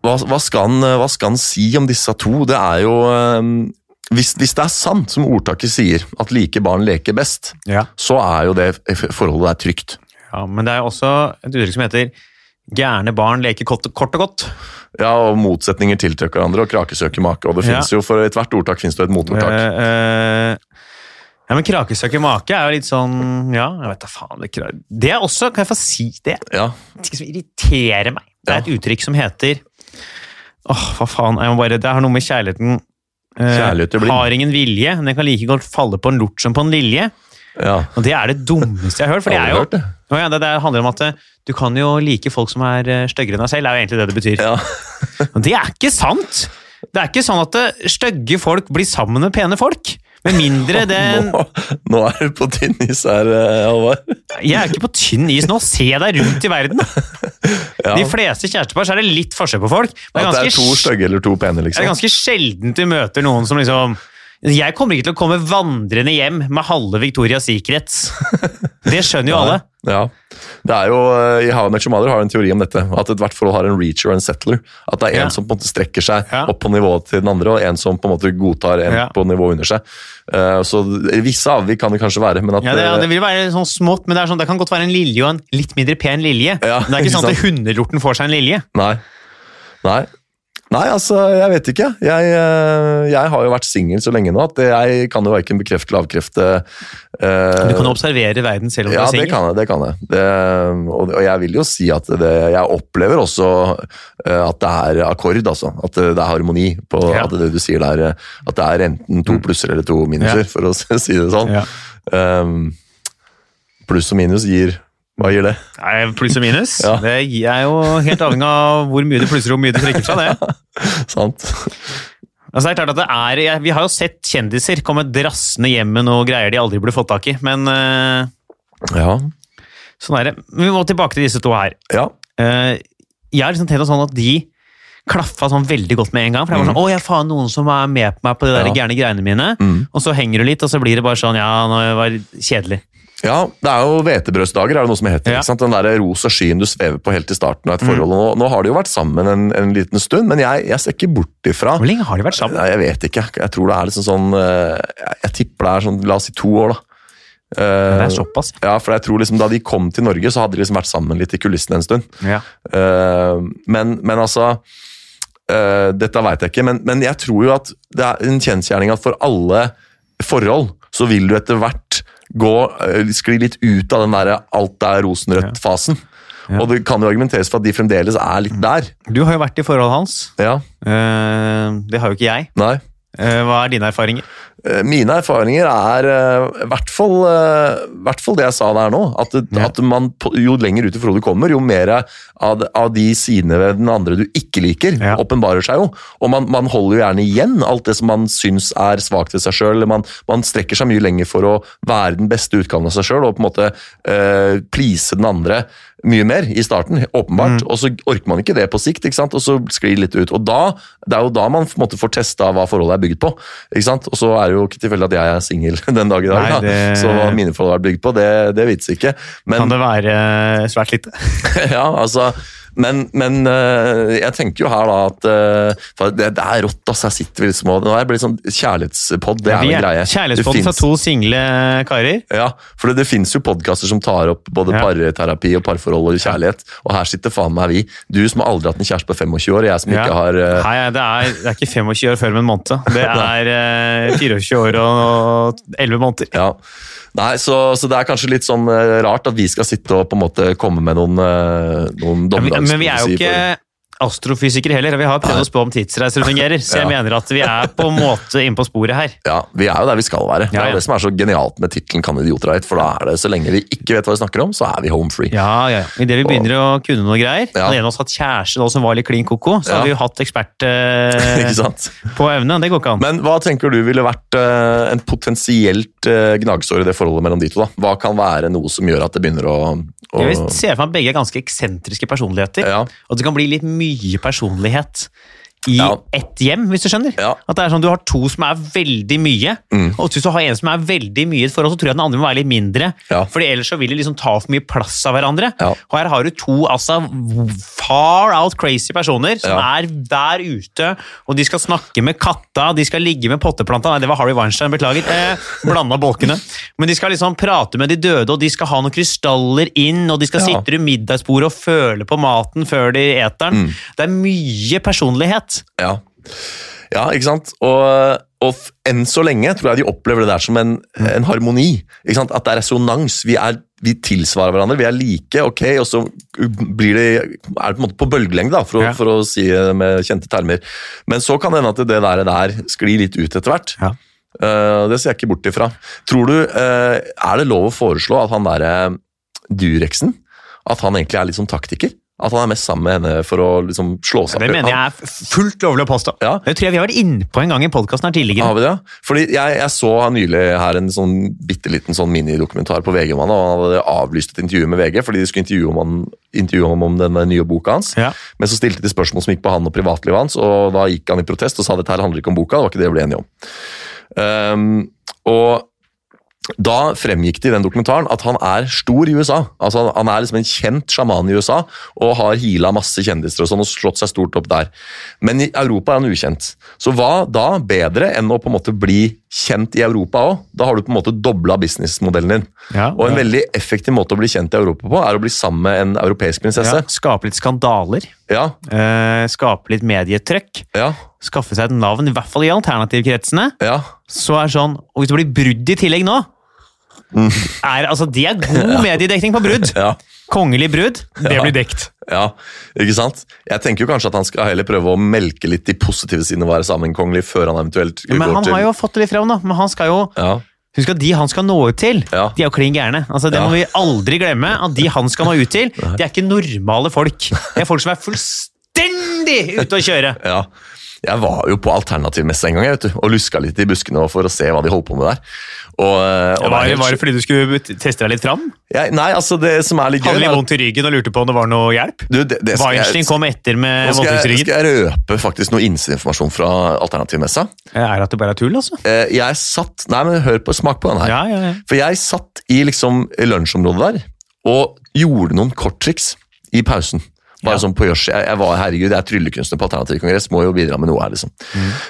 [SPEAKER 3] hva, hva, skal han, hva skal han si om disse to? Det er jo um, hvis, hvis det er sant, som ordtaket sier, at like barn leker best,
[SPEAKER 2] Ja.
[SPEAKER 3] så er jo det f- forholdet der trygt.
[SPEAKER 2] ja, Men det er jo også et uttrykk som heter 'gærne barn leker kort, kort og godt'.
[SPEAKER 3] Ja, og Motsetninger tiltrekker hverandre, og krake søker make. Og det
[SPEAKER 2] Ja.
[SPEAKER 3] finnes jo for ethvert ordtak finnes det et motordtak.
[SPEAKER 2] Eh, eh, ja, men Krakesøker make er jo litt sånn Ja, jeg vet da faen. Det, kra- det er også, kan jeg få si det,
[SPEAKER 3] Ja,
[SPEAKER 2] ting som irriterer meg. Det er et
[SPEAKER 3] Ja.
[SPEAKER 2] uttrykk som heter Åh, hva faen. Jeg må bare, det har noe med kjærligheten eh,
[SPEAKER 3] Kjærlighet til blind.
[SPEAKER 2] Har ingen vilje, men den kan like godt falle på en lort som på en lilje.
[SPEAKER 3] ja.
[SPEAKER 2] Og det er det dummeste jeg har hørt. For det er
[SPEAKER 3] Aldri
[SPEAKER 2] jo
[SPEAKER 3] hørt det.
[SPEAKER 2] Å ja, det, det handler om at eh, du kan jo like folk som er eh, styggere enn deg selv. Det er jo egentlig det det betyr.
[SPEAKER 3] Ja.
[SPEAKER 2] Men det er ikke sant! Det er ikke sånn at eh, stygge folk blir sammen med pene folk. Med mindre den
[SPEAKER 3] Nå, nå er du på tynn is her, eh, Halvard.
[SPEAKER 2] Jeg er ikke på tynn is nå. Se deg rundt i verden!
[SPEAKER 3] Ja.
[SPEAKER 2] De fleste kjærestepar så er det litt forskjell på folk. Men
[SPEAKER 3] At det er to
[SPEAKER 2] sj-
[SPEAKER 3] stygge eller to pene,
[SPEAKER 2] Det er
[SPEAKER 3] liksom.
[SPEAKER 2] ganske sjeldent vi møter noen som liksom Jeg kommer ikke til å komme vandrende hjem med halve Victorias Secrets. Det skjønner jo alle.
[SPEAKER 3] Ja. Det Det er jo, eh, I How I Met Your Mother har jo en teori om dette. At ethvert forhold har en reacher og en settler. At det er
[SPEAKER 2] Ja.
[SPEAKER 3] en som på en måte strekker seg
[SPEAKER 2] Ja.
[SPEAKER 3] opp på nivået til den andre, og en som på en måte godtar en
[SPEAKER 2] Ja.
[SPEAKER 3] på nivået under seg. Eh, så visse avvik kan det kanskje være, men at
[SPEAKER 2] Ja, det, ja,
[SPEAKER 3] eh,
[SPEAKER 2] det vil være sånn smått, men det, er sånn, det kan godt være en lilje og en litt mindre pen lilje.
[SPEAKER 3] Ja,
[SPEAKER 2] men det er ikke
[SPEAKER 3] ikke
[SPEAKER 2] sånn at hundelorten får seg en lilje.
[SPEAKER 3] Nei. Nei. Nei, altså, jeg vet ikke. Jeg, eh, jeg har jo vært singel så lenge nå at jeg kan jo verken bekrefte eller avkrefte eh,
[SPEAKER 2] Du kan observere verden selv om
[SPEAKER 3] Ja,
[SPEAKER 2] du er
[SPEAKER 3] det
[SPEAKER 2] singel.
[SPEAKER 3] kan jeg. det kan jeg. Det, og, og jeg vil jo si at det, jeg opplever også eh, at det er akkord, altså. At det, det er harmoni på
[SPEAKER 2] Ja. Mm.
[SPEAKER 3] at det du sier der, eh, at det er enten to plusser eller to minuser,
[SPEAKER 2] Ja.
[SPEAKER 3] for å si det sånn.
[SPEAKER 2] Ja.
[SPEAKER 3] Um, pluss og minus gir Hva gir det?
[SPEAKER 2] Nei, Pluss og minus.
[SPEAKER 3] Ja.
[SPEAKER 2] Det er jo helt avhengig av hvor mye du plusser og hvor mye du trekker fra det.
[SPEAKER 3] Sant?
[SPEAKER 2] Altså, det er klart at det er, jeg- vi har jo sett kjendiser komme drassende hjem med noe greier de aldri burde fått tak i, men eh,
[SPEAKER 3] Ja.
[SPEAKER 2] sånn er det. Men Vi må tilbake til disse to her.
[SPEAKER 3] ja.
[SPEAKER 2] Eh, jeg har liksom tenkt sånn at de klaffa sånn veldig godt med en gang. For jeg var sånn, å ja, faen, noen som er med på meg på de der
[SPEAKER 3] Mm. Ja.
[SPEAKER 2] gærne greiene mine.
[SPEAKER 3] Mm.
[SPEAKER 2] Og så henger du litt, og så blir det bare sånn, ja, nå var det kjedelig.
[SPEAKER 3] Ja, det er jo hvetebrødsdager, er det noe som heter.
[SPEAKER 2] Ja. Mm.
[SPEAKER 3] ikke sant? Den der rosa skyen du svever på helt til starten av et forhold. Nå, nå har de jo vært sammen en, en liten stund, men jeg, jeg ser ikke bort ifra
[SPEAKER 2] Hvor lenge har de vært sammen?
[SPEAKER 3] Nei, jeg vet ikke. Jeg tror det er liksom sånn eh, Jeg, jeg tipper det er sånn, la oss si to år, da. Eh,
[SPEAKER 2] Det er såpass.
[SPEAKER 3] ja, for jeg tror liksom Da de kom til Norge, så hadde de liksom vært sammen litt i kulissene en stund.
[SPEAKER 2] Ja.
[SPEAKER 3] Eh, men, men altså eh, Dette veit jeg ikke, men, men jeg tror jo at det er en kjensgjerning at for alle forhold så vil du etter hvert gå, eh, skli litt ut av den derre alt er rosenrødt-fasen.
[SPEAKER 2] Ja. Mm.
[SPEAKER 3] Og det kan jo argumenteres for at de fremdeles er litt der.
[SPEAKER 2] Du har jo vært i forholdet hans.
[SPEAKER 3] Ja,
[SPEAKER 2] Eh, det har jo ikke jeg.
[SPEAKER 3] nei.
[SPEAKER 2] Eh, hva er dine erfaringer?
[SPEAKER 3] Eh, Mine erfaringer er eh, i hvert fall, eh, i hvert fall det jeg sa der nå. At, det-
[SPEAKER 2] Ja.
[SPEAKER 3] at man, på- jo lenger ut i forholdet du kommer, jo mer av, det- av de sidene ved den andre du ikke liker,
[SPEAKER 2] Ja.
[SPEAKER 3] åpenbarer seg jo. Og man, man holder jo gjerne igjen alt det som man syns er svakt ved seg sjøl. Man, man strekker seg mye lenger for å være den beste utgaven av seg sjøl og på en måte eh, please den andre mye mer i starten, åpenbart.
[SPEAKER 2] Mm.
[SPEAKER 3] Og så orker man ikke det på sikt, ikke sant? og så sklir det litt ut. Og da, Det er jo da man på en måte får testa hva forholdet er bygd på. ikke sant? Og så er det jo ikke tilfeldig at jeg er singel den dag i dag.
[SPEAKER 2] Nei,
[SPEAKER 3] da.
[SPEAKER 2] det-
[SPEAKER 3] Så hva mine forhold er bygd på, det, det vitser ikke. Men,
[SPEAKER 2] Kan det være eh, svært lite?
[SPEAKER 3] ja, altså, men, men øh, jeg tenker jo her da at øh, for det, det er rått, altså. Jeg sitter liksom og Nå er jeg blitt sånn kjærlighetspod, det er
[SPEAKER 2] Vi
[SPEAKER 3] en
[SPEAKER 2] er-
[SPEAKER 3] greie.
[SPEAKER 2] Kjærlighetspodden fra
[SPEAKER 3] Det finnes-
[SPEAKER 2] to single eh, karer.
[SPEAKER 3] ja, for det, det finnes jo podkaster som tar opp både
[SPEAKER 2] Ja.
[SPEAKER 3] parterapi og parforhold og kjærlighet, og her sitter faen meg vi. Du som har aldri hatt en kjæreste på 25 år, og jeg som
[SPEAKER 2] Ja.
[SPEAKER 3] ikke har eh,
[SPEAKER 2] Nei, det er, det er ikke 25 år før om en måned. Det er eh, 24 år og 11 måneder.
[SPEAKER 3] ja. Nei, så, så det er kanskje litt sånn eh, rart at vi skal sitte og på en måte komme med noen, eh, noen
[SPEAKER 2] Men vi, men vi er jo
[SPEAKER 3] dommedagsprofesier
[SPEAKER 2] ikke astrofysikere heller, og vi har prøvd å spå om tidsreiser fungerer, så jeg
[SPEAKER 3] Ja.
[SPEAKER 2] mener at vi er på en måte inne på sporet her.
[SPEAKER 3] for- Ja, vi er jo der vi skal være. Det
[SPEAKER 2] Ja,
[SPEAKER 3] er
[SPEAKER 2] ja.
[SPEAKER 3] jo det som er så genialt med tittelen 'Kan idioter ha hett', for da er det så lenge vi ikke vet hva vi snakker om, så er vi home free.
[SPEAKER 2] Ja, ja. Idet vi begynner å kunne noe greier,
[SPEAKER 3] Ja.
[SPEAKER 2] hadde en av oss hatt kjæreste nå som var litt klin koko, så
[SPEAKER 3] Ja.
[SPEAKER 2] hadde vi jo hatt ekspert eh,
[SPEAKER 3] ikke sant?
[SPEAKER 2] på evne. Det går ikke an.
[SPEAKER 3] Men hva tenker du ville vært eh, en potensielt eh, gnagsår i det forholdet mellom de to? da? Hva kan være noe som gjør at det begynner å, å
[SPEAKER 2] Jeg vil se for meg at begge er ganske eksentriske personligheter,
[SPEAKER 3] Ja.
[SPEAKER 2] og at det kan bli litt mye personlighet i
[SPEAKER 3] Ja.
[SPEAKER 2] ett hjem, hvis du skjønner.
[SPEAKER 3] Ja. Mm.
[SPEAKER 2] At det er sånn, du har to som er veldig mye, og hvis du har en som er veldig mye i et forhold, så tror jeg den andre må være litt mindre.
[SPEAKER 3] Ja.
[SPEAKER 2] Fordi ellers så vil de liksom ta for mye plass av hverandre.
[SPEAKER 3] Ja.
[SPEAKER 2] Og her har du to altså far out crazy personer som
[SPEAKER 3] Ja.
[SPEAKER 2] er der ute, og de skal snakke med katta, de skal ligge med potteplanta. Nei, det var Harry Weinstein, beklager. Eh, Blanda bolkene. Men de skal liksom prate med de døde, og de skal ha noen krystaller inn, og de skal
[SPEAKER 3] Ja.
[SPEAKER 2] sitte rundt middagsbordet og føle på maten før de eter
[SPEAKER 3] Mm.
[SPEAKER 2] den. Det er mye personlighet.
[SPEAKER 3] Ja. ja, ikke sant? Og, og f- enn så lenge tror jeg de opplever det der som en,
[SPEAKER 2] Mm.
[SPEAKER 3] en harmoni. Ikke sant? At det er resonans. Vi, er, vi tilsvarer hverandre, vi er like, ok, og så blir det, er det på en måte på bølgelengde, da, for, å-
[SPEAKER 2] Ja.
[SPEAKER 3] for å si det med kjente termer. Men så kan det hende at det der, der sklir litt ut etter hvert.
[SPEAKER 2] Ja.
[SPEAKER 3] Eh, det ser jeg ikke bort ifra. Tror du, eh, Er det lov å foreslå at han derre Dureksen At han egentlig er litt sånn taktiker? At han er mest sammen med henne for å liksom slå seg
[SPEAKER 2] Det
[SPEAKER 3] opp?
[SPEAKER 2] mener jeg er f- fullt lovlig å påstå.
[SPEAKER 3] Ja.
[SPEAKER 2] Det tror jeg vi har vært inne på en gang i podkasten her tidligere.
[SPEAKER 3] Har vi det? ja? Fordi jeg, jeg så nylig her en sånn bitte liten sånn minidokumentar på VG om han, og han hadde avlyst et intervju med VG fordi de skulle intervjue om, han, intervjue ham om den nye boka hans.
[SPEAKER 2] Ja.
[SPEAKER 3] Men så stilte de spørsmål som gikk på han og privatlivet hans, og da gikk han i protest og sa dette her handler ikke om boka, det var ikke det vi ble enige om. Ehm, og da fremgikk det i den dokumentaren at han er stor i USA. Altså han- Han er liksom en kjent sjaman i USA og har heala masse kjendiser og sånn og slått seg stort opp der. Men i Europa er han ukjent. Så hva da bedre enn å på en måte bli kjent i Europa òg? Da har du på en måte dobla businessmodellen din.
[SPEAKER 2] Ja,
[SPEAKER 3] og en
[SPEAKER 2] ja.
[SPEAKER 3] veldig effektiv måte å bli kjent i Europa på er å bli sammen med en europeisk
[SPEAKER 2] Ja,
[SPEAKER 3] prinsesse.
[SPEAKER 2] skape litt skandaler,
[SPEAKER 3] Ja,
[SPEAKER 2] eh, skape litt medietrykk.
[SPEAKER 3] ja,
[SPEAKER 2] Skaffe seg et navn, i hvert fall i alternativkretsene.
[SPEAKER 3] ja.
[SPEAKER 2] Så er det sånn Og hvis det blir brudd i tillegg nå er, altså, Det er god mediedekning på brudd!
[SPEAKER 3] ja.
[SPEAKER 2] Kongelig brudd, det
[SPEAKER 3] Ja.
[SPEAKER 2] blir dekt.
[SPEAKER 3] Ja, ikke sant? Jeg tenker jo kanskje at han skal heller prøve å melke litt de positive sidene ved å være sammen kongelig før han eventuelt
[SPEAKER 2] Men
[SPEAKER 3] går
[SPEAKER 2] han
[SPEAKER 3] til
[SPEAKER 2] har jo fått det litt fram, da. Men han skal jo
[SPEAKER 3] ja.
[SPEAKER 2] Husk at de han skal nå ut til,
[SPEAKER 3] Ja.
[SPEAKER 2] de er jo klin gærne. Altså, det
[SPEAKER 3] Ja.
[SPEAKER 2] må vi aldri glemme. At de han skal nå ut til, de er ikke normale folk. Det er folk som er fullstendig ute å kjøre!
[SPEAKER 3] ja. Jeg var jo på alternativmesse en gang jeg vet du, og luska litt i buskene for å se hva de holdt på med der. Og, eh, og
[SPEAKER 2] Var,
[SPEAKER 3] det er helt-
[SPEAKER 2] var det fordi du skulle teste deg litt fram?
[SPEAKER 3] Jeg- Nei, altså det som er litt
[SPEAKER 2] Hadde
[SPEAKER 3] gøy
[SPEAKER 2] litt
[SPEAKER 3] er at-
[SPEAKER 2] vondt i ryggen og lurte på om det var noe hjelp?
[SPEAKER 3] Du, det- det skal jeg-
[SPEAKER 2] Weinstein kom etter med
[SPEAKER 3] Nå skal jeg,
[SPEAKER 2] voldtektsryggen.
[SPEAKER 3] skal jeg røpe faktisk noe innsideinformasjon fra alternativmessa.
[SPEAKER 2] Er at det bare er tull, altså?
[SPEAKER 3] Eh, Jeg satt Nei, men hør på smak på den her.
[SPEAKER 2] Ja, ja, ja.
[SPEAKER 3] For jeg satt i liksom lunsjområdet der og gjorde noen korttriks i pausen. Bare sånn på gjørs. Jeg, jeg var, herregud, jeg er tryllekunstner på Alternativ Kongress, må jo bidra med noe her, liksom.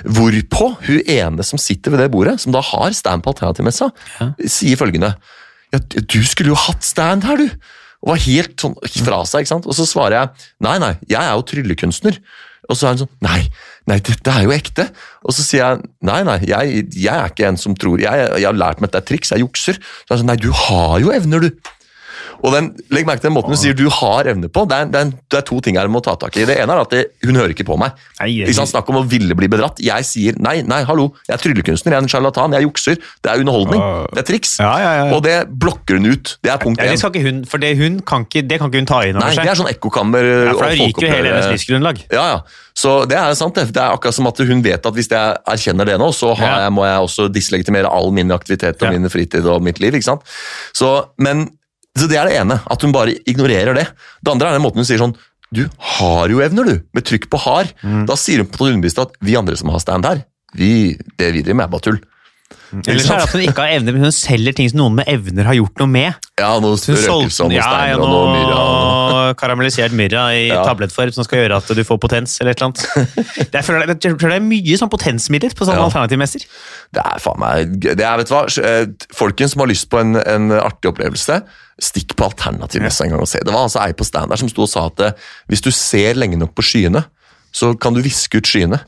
[SPEAKER 3] Hvorpå hun ene som sitter ved det bordet, som da har stand på Alternativmessa, sier følgende ja, Du skulle jo hatt stand her, du! Og var helt sånn fra seg, ikke sant? Og så svarer jeg nei, nei, jeg er jo tryllekunstner. Og så er hun sånn Nei, nei, dette er jo ekte. Og så sier jeg nei, nei, jeg, jeg er ikke en som tror Jeg, jeg har lært meg at det er triks, jeg jukser. Så er hun sånn Nei, du har jo evner, du. Og den, legg merke til den måten hun sier du har evner på. Det er, det er, det er to ting her hun må ta tak i. Det ene er at det, hun hører ikke på meg.
[SPEAKER 2] Nei, jeg-
[SPEAKER 3] Ikke sant? Snakk om å ville bli bedratt. Jeg sier nei, nei, hallo, jeg er tryllekunstner, jeg er en sjarlatan, jeg jukser. Det er underholdning.
[SPEAKER 2] Ah.
[SPEAKER 3] Det er triks.
[SPEAKER 2] Ja, ja, ja.
[SPEAKER 3] Og det blokker hun ut. Det er punkt
[SPEAKER 2] Ja, det
[SPEAKER 3] én.
[SPEAKER 2] skal ikke hun, for det, hun kan ikke, det kan ikke hun ta inn
[SPEAKER 3] Nei,
[SPEAKER 2] over
[SPEAKER 3] det
[SPEAKER 2] seg.
[SPEAKER 3] er sånn ekkokammer.
[SPEAKER 2] Ja, for da
[SPEAKER 3] og
[SPEAKER 2] ryker jo hele
[SPEAKER 3] folkeopprør-
[SPEAKER 2] hennes livsgrunnlag.
[SPEAKER 3] Ja, ja. Så det er sant. Det Det er akkurat som at hun vet at hvis jeg erkjenner det nå, så har
[SPEAKER 2] Ja.
[SPEAKER 3] jeg, må jeg også dislegitimere all min aktivitet og
[SPEAKER 2] Ja.
[SPEAKER 3] min fritid og mitt liv. ikke sant? Så, men, så det er det ene, at hun bare ignorerer det. Det andre er den måten hun sier sånn Du har jo evner, du, med trykk på har.
[SPEAKER 2] Mm.
[SPEAKER 3] Da sier hun på underbevisst at vi andre som har stand her, vi, det vi driver med, er bare tull.
[SPEAKER 2] Ellers er det at hun ikke har evner, men hun selger ting som noen med evner har gjort noe med.
[SPEAKER 3] Ja, noe
[SPEAKER 2] Hun solgte
[SPEAKER 3] røkelse og noe
[SPEAKER 2] ja, ja,
[SPEAKER 3] sånn steiner og noe myra. og-
[SPEAKER 2] noe karamellisert myrra i
[SPEAKER 3] Ja.
[SPEAKER 2] tablettform som skal gjøre at du får potens eller et eller annet. Det er, jeg føler det- jeg tror det er mye sånn potensmidler på sånne
[SPEAKER 3] Ja.
[SPEAKER 2] alternativmesser.
[SPEAKER 3] Det er faen meg gøy. det er, vet du hva, eh, Folkens som har lyst på en, en artig opplevelse, stikk på alternativmessa en gang og se. Det var altså ei på stand der som sto og sa at eh, hvis du ser lenge nok på skyene, så kan du viske ut skyene.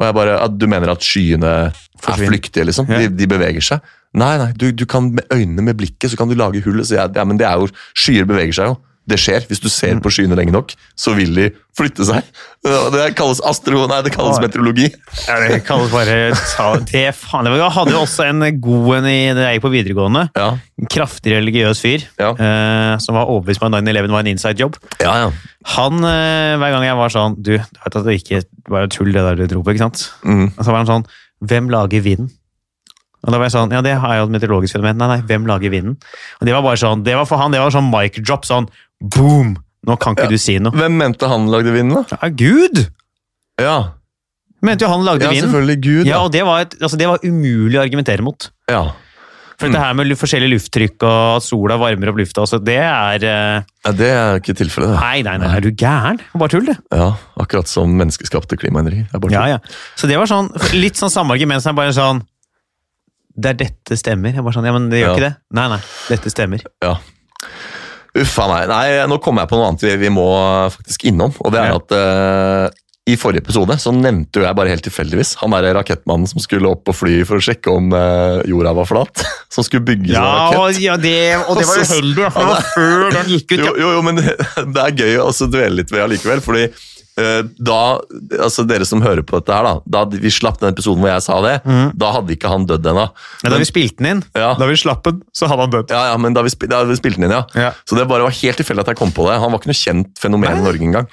[SPEAKER 3] Og jeg bare at Du mener at skyene er
[SPEAKER 2] Forsvinner.
[SPEAKER 3] flyktige, liksom?
[SPEAKER 2] Ja.
[SPEAKER 3] De, de beveger seg? Nei, nei, du, du kan med øynene med blikket så kan du lage hull. Så jeg, ja, men det er jo, Skyer beveger seg jo. Det skjer. Hvis du ser på skyene lenge nok, så vil de flytte seg. Og Det kalles astro... Nei, det kalles
[SPEAKER 2] Oi.
[SPEAKER 3] meteorologi.
[SPEAKER 2] Ja, det kan du bare ta det faen. Jeg hadde jo også en god en i det jeg gikk på videregående.
[SPEAKER 3] Ja,
[SPEAKER 2] En kraftig religiøs fyr
[SPEAKER 3] Ja.
[SPEAKER 2] eh, som var overbevist om at 9-11 var en inside job.
[SPEAKER 3] ja. ja.
[SPEAKER 2] Han, eh, hver gang jeg var sånn Du, du vet at det ikke var tull det der du tror på, ikke sant?
[SPEAKER 3] Mm.
[SPEAKER 2] Og så var han sånn Hvem lager vinden? Og da var jeg sånn, ja det har jeg jo et meteorologisk fenomen. Nei, nei, hvem lager vinden? Og det var bare sånn, det var for han, det var sånn mic drop, sånn boom! Nå kan ikke du si noe.
[SPEAKER 3] Hvem mente han lagde vinen, da?
[SPEAKER 2] Ja, Gud!
[SPEAKER 3] Ja,
[SPEAKER 2] Mente jo han lagde
[SPEAKER 3] ja
[SPEAKER 2] vinden.
[SPEAKER 3] selvfølgelig Gud.
[SPEAKER 2] Ja,
[SPEAKER 3] da.
[SPEAKER 2] og det var, et, altså, det var umulig å argumentere mot.
[SPEAKER 3] Ja.
[SPEAKER 2] For
[SPEAKER 3] Mm.
[SPEAKER 2] det her med lu- forskjellig lufttrykk og at sola varmer opp lufta, altså det er eh,
[SPEAKER 3] ja, Det er ikke tilfellet, det.
[SPEAKER 2] Nei, nei, nei, er du gæren? Bare tull, det.
[SPEAKER 3] Ja, akkurat som menneskeskapte klimaendringer. Det er bare
[SPEAKER 2] Ja,
[SPEAKER 3] tull.
[SPEAKER 2] ja. Så det var sånn, litt sånn samme argument som er bare sånn Det er dette stemmer. Jeg bare sånn, ja, men det gjør
[SPEAKER 3] Ja.
[SPEAKER 2] ikke det. Nei, nei, dette stemmer.
[SPEAKER 3] Ja. Uffa meg. Nei, nå kommer jeg på noe annet vi, vi må faktisk innom. Og det er
[SPEAKER 2] Ja.
[SPEAKER 3] at eh, i forrige episode så nevnte jo jeg bare helt tilfeldigvis han derre rakettmannen som skulle opp og fly for å sjekke om eh, jorda var flat. Som skulle bygge
[SPEAKER 2] Ja,
[SPEAKER 3] ja, rakett.
[SPEAKER 2] og, ja det, og det var
[SPEAKER 3] Og så-
[SPEAKER 2] uheldig, da, for det var før den gikk ut.
[SPEAKER 3] Jo,
[SPEAKER 2] Ja.
[SPEAKER 3] jo, jo, men det er gøy å også dvele litt ved allikevel, fordi eh, da, altså dere som hører på dette her da, da vi slapp den episoden hvor jeg sa det, da hadde ikke han dødd ennå.
[SPEAKER 2] Mhm. Ja, da vi spilte den inn,
[SPEAKER 3] Ja.
[SPEAKER 2] da vi slapp den, så hadde han dødd.
[SPEAKER 3] Ja, ja, men da vi, spi- da vi spilte den inn, ja.
[SPEAKER 2] Ja.
[SPEAKER 3] Så det bare var helt tilfeldig at jeg kom på det. Han var ikke noe kjent fenomen i Norge engang.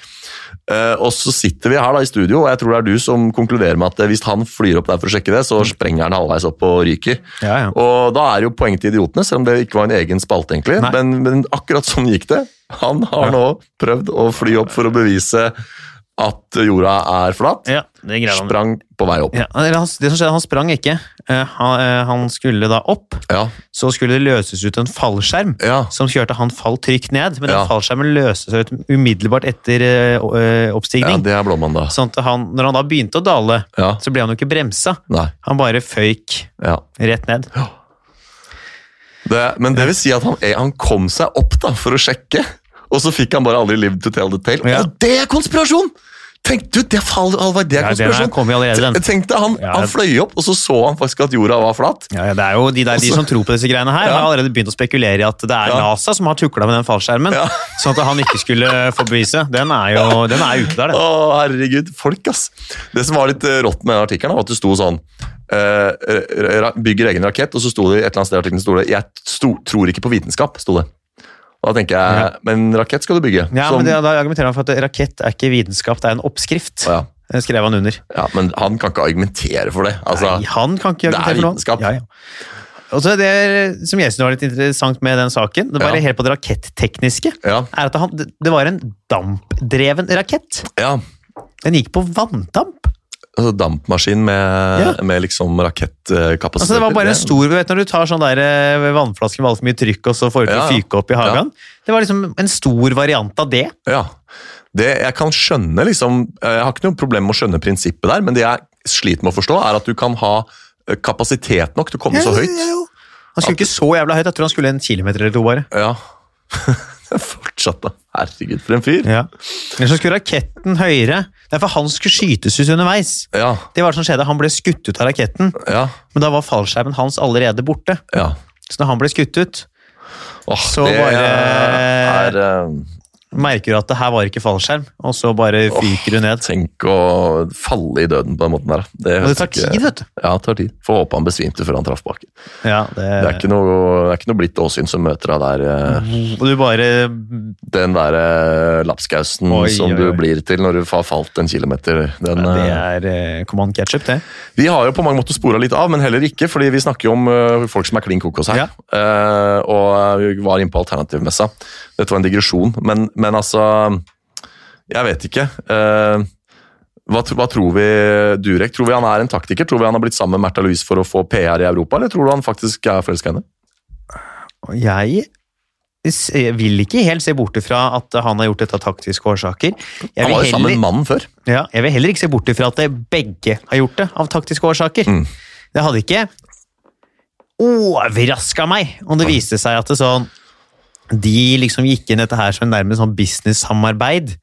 [SPEAKER 3] Eh, og så sitter vi her da i studio, og jeg tror det er du som konkluderer med at eh, hvis han flyr opp der for å sjekke det, så sprenger han halvveis opp og ryker.
[SPEAKER 2] Mm. Ja, ja.
[SPEAKER 3] Og da er det jo poeng til idiotene, selv om det ikke var en egen spalte egentlig.
[SPEAKER 2] Nei.
[SPEAKER 3] Men, men akkurat sånn gikk det. Han har nå prøvd å fly opp for å bevise at jorda er flat.
[SPEAKER 2] Ja, Det greier han.
[SPEAKER 3] Sprang på vei opp.
[SPEAKER 2] Ja, eller han, det som skjedde, han sprang ikke. Eh, han, eh, han skulle da opp.
[SPEAKER 3] Ja.
[SPEAKER 2] Så skulle det løses ut en fallskjerm
[SPEAKER 3] ja.
[SPEAKER 2] som kjørte han fall trygt ned. Men den
[SPEAKER 3] Ja.
[SPEAKER 2] fallskjermen løste seg ut umiddelbart etter eh, o- eh,
[SPEAKER 3] ja
[SPEAKER 2] oppstigning.
[SPEAKER 3] det er Blåmann, da.
[SPEAKER 2] Sånn at han, når han da begynte å dale,
[SPEAKER 3] Ja.
[SPEAKER 2] så ble han jo ikke bremsa.
[SPEAKER 3] Nei.
[SPEAKER 2] Han bare føyk
[SPEAKER 3] Ja.
[SPEAKER 2] rett ned.
[SPEAKER 3] Det, men det vil si at han, eh, han kom seg opp da, for å sjekke, og så fikk han bare aldri liv to tell the tale.
[SPEAKER 2] Ja.
[SPEAKER 3] Og det er konspirasjon! Tenk du, det, fall, Alvar, det er
[SPEAKER 2] Ja, den her
[SPEAKER 3] konspirasjon!
[SPEAKER 2] kom jo allerede, den.
[SPEAKER 3] Tenk deg, han,
[SPEAKER 2] Ja.
[SPEAKER 3] han fløy opp, og så så han faktisk at jorda var flat.
[SPEAKER 2] Ja, ja, det er jo De der, de
[SPEAKER 3] Også-
[SPEAKER 2] som tror på disse greiene her,
[SPEAKER 3] Ja.
[SPEAKER 2] har allerede begynt å spekulere i at det er
[SPEAKER 3] Ja.
[SPEAKER 2] NASA som har tukla med den fallskjermen.
[SPEAKER 3] Ja.
[SPEAKER 2] Sånn at han ikke skulle få beviset. Den er jo den er ute der,
[SPEAKER 3] Å,
[SPEAKER 2] den.
[SPEAKER 3] herregud. Folk, ass. Det som var litt eh, rått med den artikkelen, var at det sto sånn eh, ra- Bygger egen rakett, og så sto det et eller annet sted i artikkelen sto det, Jeg sto, tror ikke på vitenskap, sto det. Og da tenker jeg, men rakett skal du bygge.
[SPEAKER 2] Ja,
[SPEAKER 3] som-
[SPEAKER 2] men det, Da argumenterer han for at rakett er ikke vitenskap, det er en oppskrift.
[SPEAKER 3] ja,
[SPEAKER 2] Det skrev han under.
[SPEAKER 3] ja, men han kan ikke argumentere for det. Altså,
[SPEAKER 2] Nei, han kan ikke
[SPEAKER 3] det er
[SPEAKER 2] argumentere for noe.
[SPEAKER 3] vitenskap.
[SPEAKER 2] Ja, ja. Og så det som jeg synes var litt interessant med den saken, det var
[SPEAKER 3] Ja.
[SPEAKER 2] helt på det rakettekniske,
[SPEAKER 3] ja,
[SPEAKER 2] er at han, det det var en dampdreven rakett.
[SPEAKER 3] ja.
[SPEAKER 2] Den gikk på vanndamp.
[SPEAKER 3] Altså, dampmaskin med,
[SPEAKER 2] Ja.
[SPEAKER 3] med liksom rakettkapasitet.
[SPEAKER 2] Altså, det var bare en stor, vet, du, Når du tar sånn der eh, vannflaske med altfor mye trykk, og så får du til
[SPEAKER 3] Ja,
[SPEAKER 2] å
[SPEAKER 3] ja.
[SPEAKER 2] fyke opp i hagen. Det var liksom en stor variant av det.
[SPEAKER 3] Ja. Det, jeg kan skjønne liksom, jeg har ikke noe problem med å skjønne prinsippet der, men det jeg sliter med å forstå, er at du kan ha eh, kapasitet nok til å komme så høyt.
[SPEAKER 2] Han skulle ikke så jævla høyt, jeg tror han skulle en kilometer eller to bare.
[SPEAKER 3] Ja. Fortsatt, da. Herregud, for en fyr.
[SPEAKER 2] Ja. Eller så skulle raketten høyere. Det er for han skulle skytes ut underveis.
[SPEAKER 3] Ja,
[SPEAKER 2] Det var det som skjedde, Han ble skutt ut av raketten,
[SPEAKER 3] ja,
[SPEAKER 2] men da var fallskjermen hans allerede borte.
[SPEAKER 3] ja.
[SPEAKER 2] Så når han ble skutt ut,
[SPEAKER 3] Åh,
[SPEAKER 2] Så
[SPEAKER 3] det
[SPEAKER 2] bare-
[SPEAKER 3] er eh,
[SPEAKER 2] merker du at det her var ikke fallskjerm, og så bare fyker du ned.
[SPEAKER 3] Tenk å falle i døden på den måten der. da. Det,
[SPEAKER 2] Og det
[SPEAKER 3] høres
[SPEAKER 2] tar
[SPEAKER 3] ikke-
[SPEAKER 2] tid, vet du.
[SPEAKER 3] Ja, det tar tid. Får håpe han besvimte før han traff bakken.
[SPEAKER 2] Ja, det,
[SPEAKER 3] Det er ikke noe, det er ikke noe blitt Åsyn som møter deg der. eh,
[SPEAKER 2] Og du bare
[SPEAKER 3] Den derre lapskausen
[SPEAKER 2] Oi,
[SPEAKER 3] som
[SPEAKER 2] oi,
[SPEAKER 3] du
[SPEAKER 2] oi.
[SPEAKER 3] blir til når du har falt en kilometer. Den,
[SPEAKER 2] Det
[SPEAKER 3] eh,
[SPEAKER 2] er eh, command ketchup, det.
[SPEAKER 3] Vi har jo på mange måter spora litt av, men heller ikke, fordi vi snakker jo om eh, folk som er klin kokos her.
[SPEAKER 2] Ja.
[SPEAKER 3] Eh, og vi var inne på alternativmessa. Dette var en digresjon, men, men altså Jeg vet ikke. Eh, hva, tro- hva tror vi Durek? Tror vi han er en taktiker? Tror vi han har blitt sammen med Märtha Louise for å få PR i Europa, eller tror du han faktisk er forelska i henne?
[SPEAKER 2] Og Jeg s- jeg vil ikke helt se bort ifra at han har gjort dette av taktiske årsaker. Jeg
[SPEAKER 3] Han
[SPEAKER 2] vil,
[SPEAKER 3] var jo sammen med
[SPEAKER 2] heller,
[SPEAKER 3] mannen før.
[SPEAKER 2] ja, jeg vil heller ikke se bort ifra at det begge har gjort det av taktiske årsaker.
[SPEAKER 3] Mm.
[SPEAKER 2] Det hadde ikke overraska meg om det viste seg at det sånn De liksom gikk inn i dette her som nærmest sånn business-samarbeid.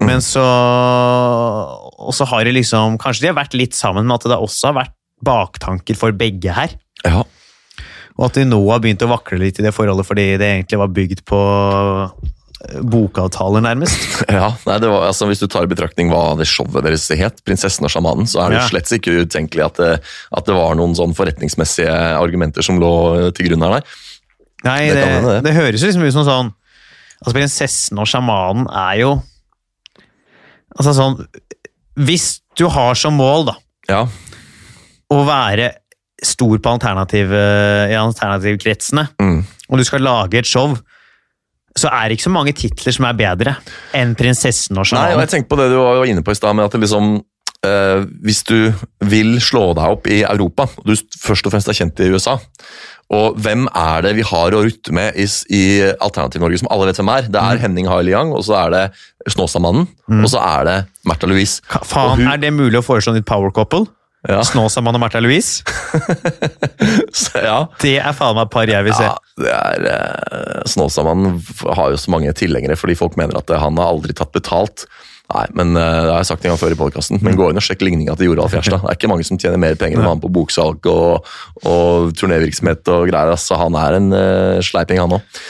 [SPEAKER 3] Mm.
[SPEAKER 2] Men så Og så har de liksom Kanskje de har vært litt sammen, men at det også har vært baktanker for begge her.
[SPEAKER 3] Ja.
[SPEAKER 2] Og at de nå har begynt å vakle litt i det forholdet fordi det egentlig var bygd på eh, bokavtaler, nærmest.
[SPEAKER 3] Ja, nei, det var, altså, Hvis du tar i betraktning hva det showet deres het, 'Prinsessen og sjamanen', så er det jo
[SPEAKER 2] Ja.
[SPEAKER 3] slett ikke utenkelig at det, at det var noen sånn forretningsmessige argumenter som lå til grunn her. Nei.
[SPEAKER 2] Nei,
[SPEAKER 3] Det
[SPEAKER 2] det,
[SPEAKER 3] kan hende,
[SPEAKER 2] det,
[SPEAKER 3] det.
[SPEAKER 2] høres jo liksom ut som sånn Altså, prinsessen og sjamanen er jo Altså sånn Hvis du har som mål, da,
[SPEAKER 3] Ja,
[SPEAKER 2] å være stor på alternativ, eh, i alternativkretsene,
[SPEAKER 3] mm.
[SPEAKER 2] og du skal lage et show, så er det ikke så mange titler som er bedre enn prinsessen og
[SPEAKER 3] Nei, og
[SPEAKER 2] sjamanen.
[SPEAKER 3] jeg tenkte på det du var var inne på i stad, med at det liksom eh, Hvis du vil slå deg opp i Europa, og du s- først og fremst er kjent i USA og hvem er det vi har å rutte med i, s- i Alternativ-Norge som alle vet hvem er? Det
[SPEAKER 2] Mm.
[SPEAKER 3] er Henning Haile Liang, og så er det Snåsamannen, og så er det Märtha Louise.
[SPEAKER 2] Ka- Faen,
[SPEAKER 3] Og hun-
[SPEAKER 2] er det mulig å foreslå nytt power couple?
[SPEAKER 3] Ja.
[SPEAKER 2] Snåsamann og Märtha Louise?
[SPEAKER 3] Så, ja.
[SPEAKER 2] Det er faen meg par jeg vil se.
[SPEAKER 3] Ja, det er eh, Snåsamannen f- har jo så mange tilhengere fordi folk mener at eh, han har aldri tatt betalt. Nei, men eh, det har jeg sagt en gang før i podkasten, men gå inn og sjekk ligninga til Joralf Gjerstad. Det er ikke mange som tjener mer penger enn han på boksalg og, og turnévirksomhet og greier. Så han er en eh, sleiping, han òg.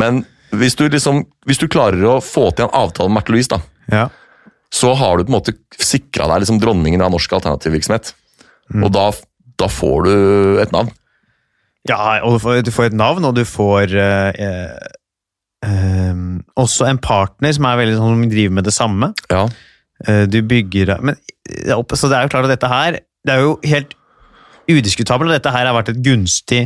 [SPEAKER 3] Men hvis du, liksom, hvis du klarer å få til en avtale med Märtha Louise, da,
[SPEAKER 2] Ja.
[SPEAKER 3] så har du på en måte sikra deg liksom dronningen av norsk alternativvirksomhet. Og da, da får du et navn.
[SPEAKER 2] ja, og du får, du får et navn, og du får eh, eh, eh, også en partner som er veldig sånn som driver med det samme.
[SPEAKER 3] Ja,
[SPEAKER 2] Eh, du bygger men, det er opp, Så det er jo klart at dette her Det er jo helt udiskutabelt, og dette her har vært et gunstig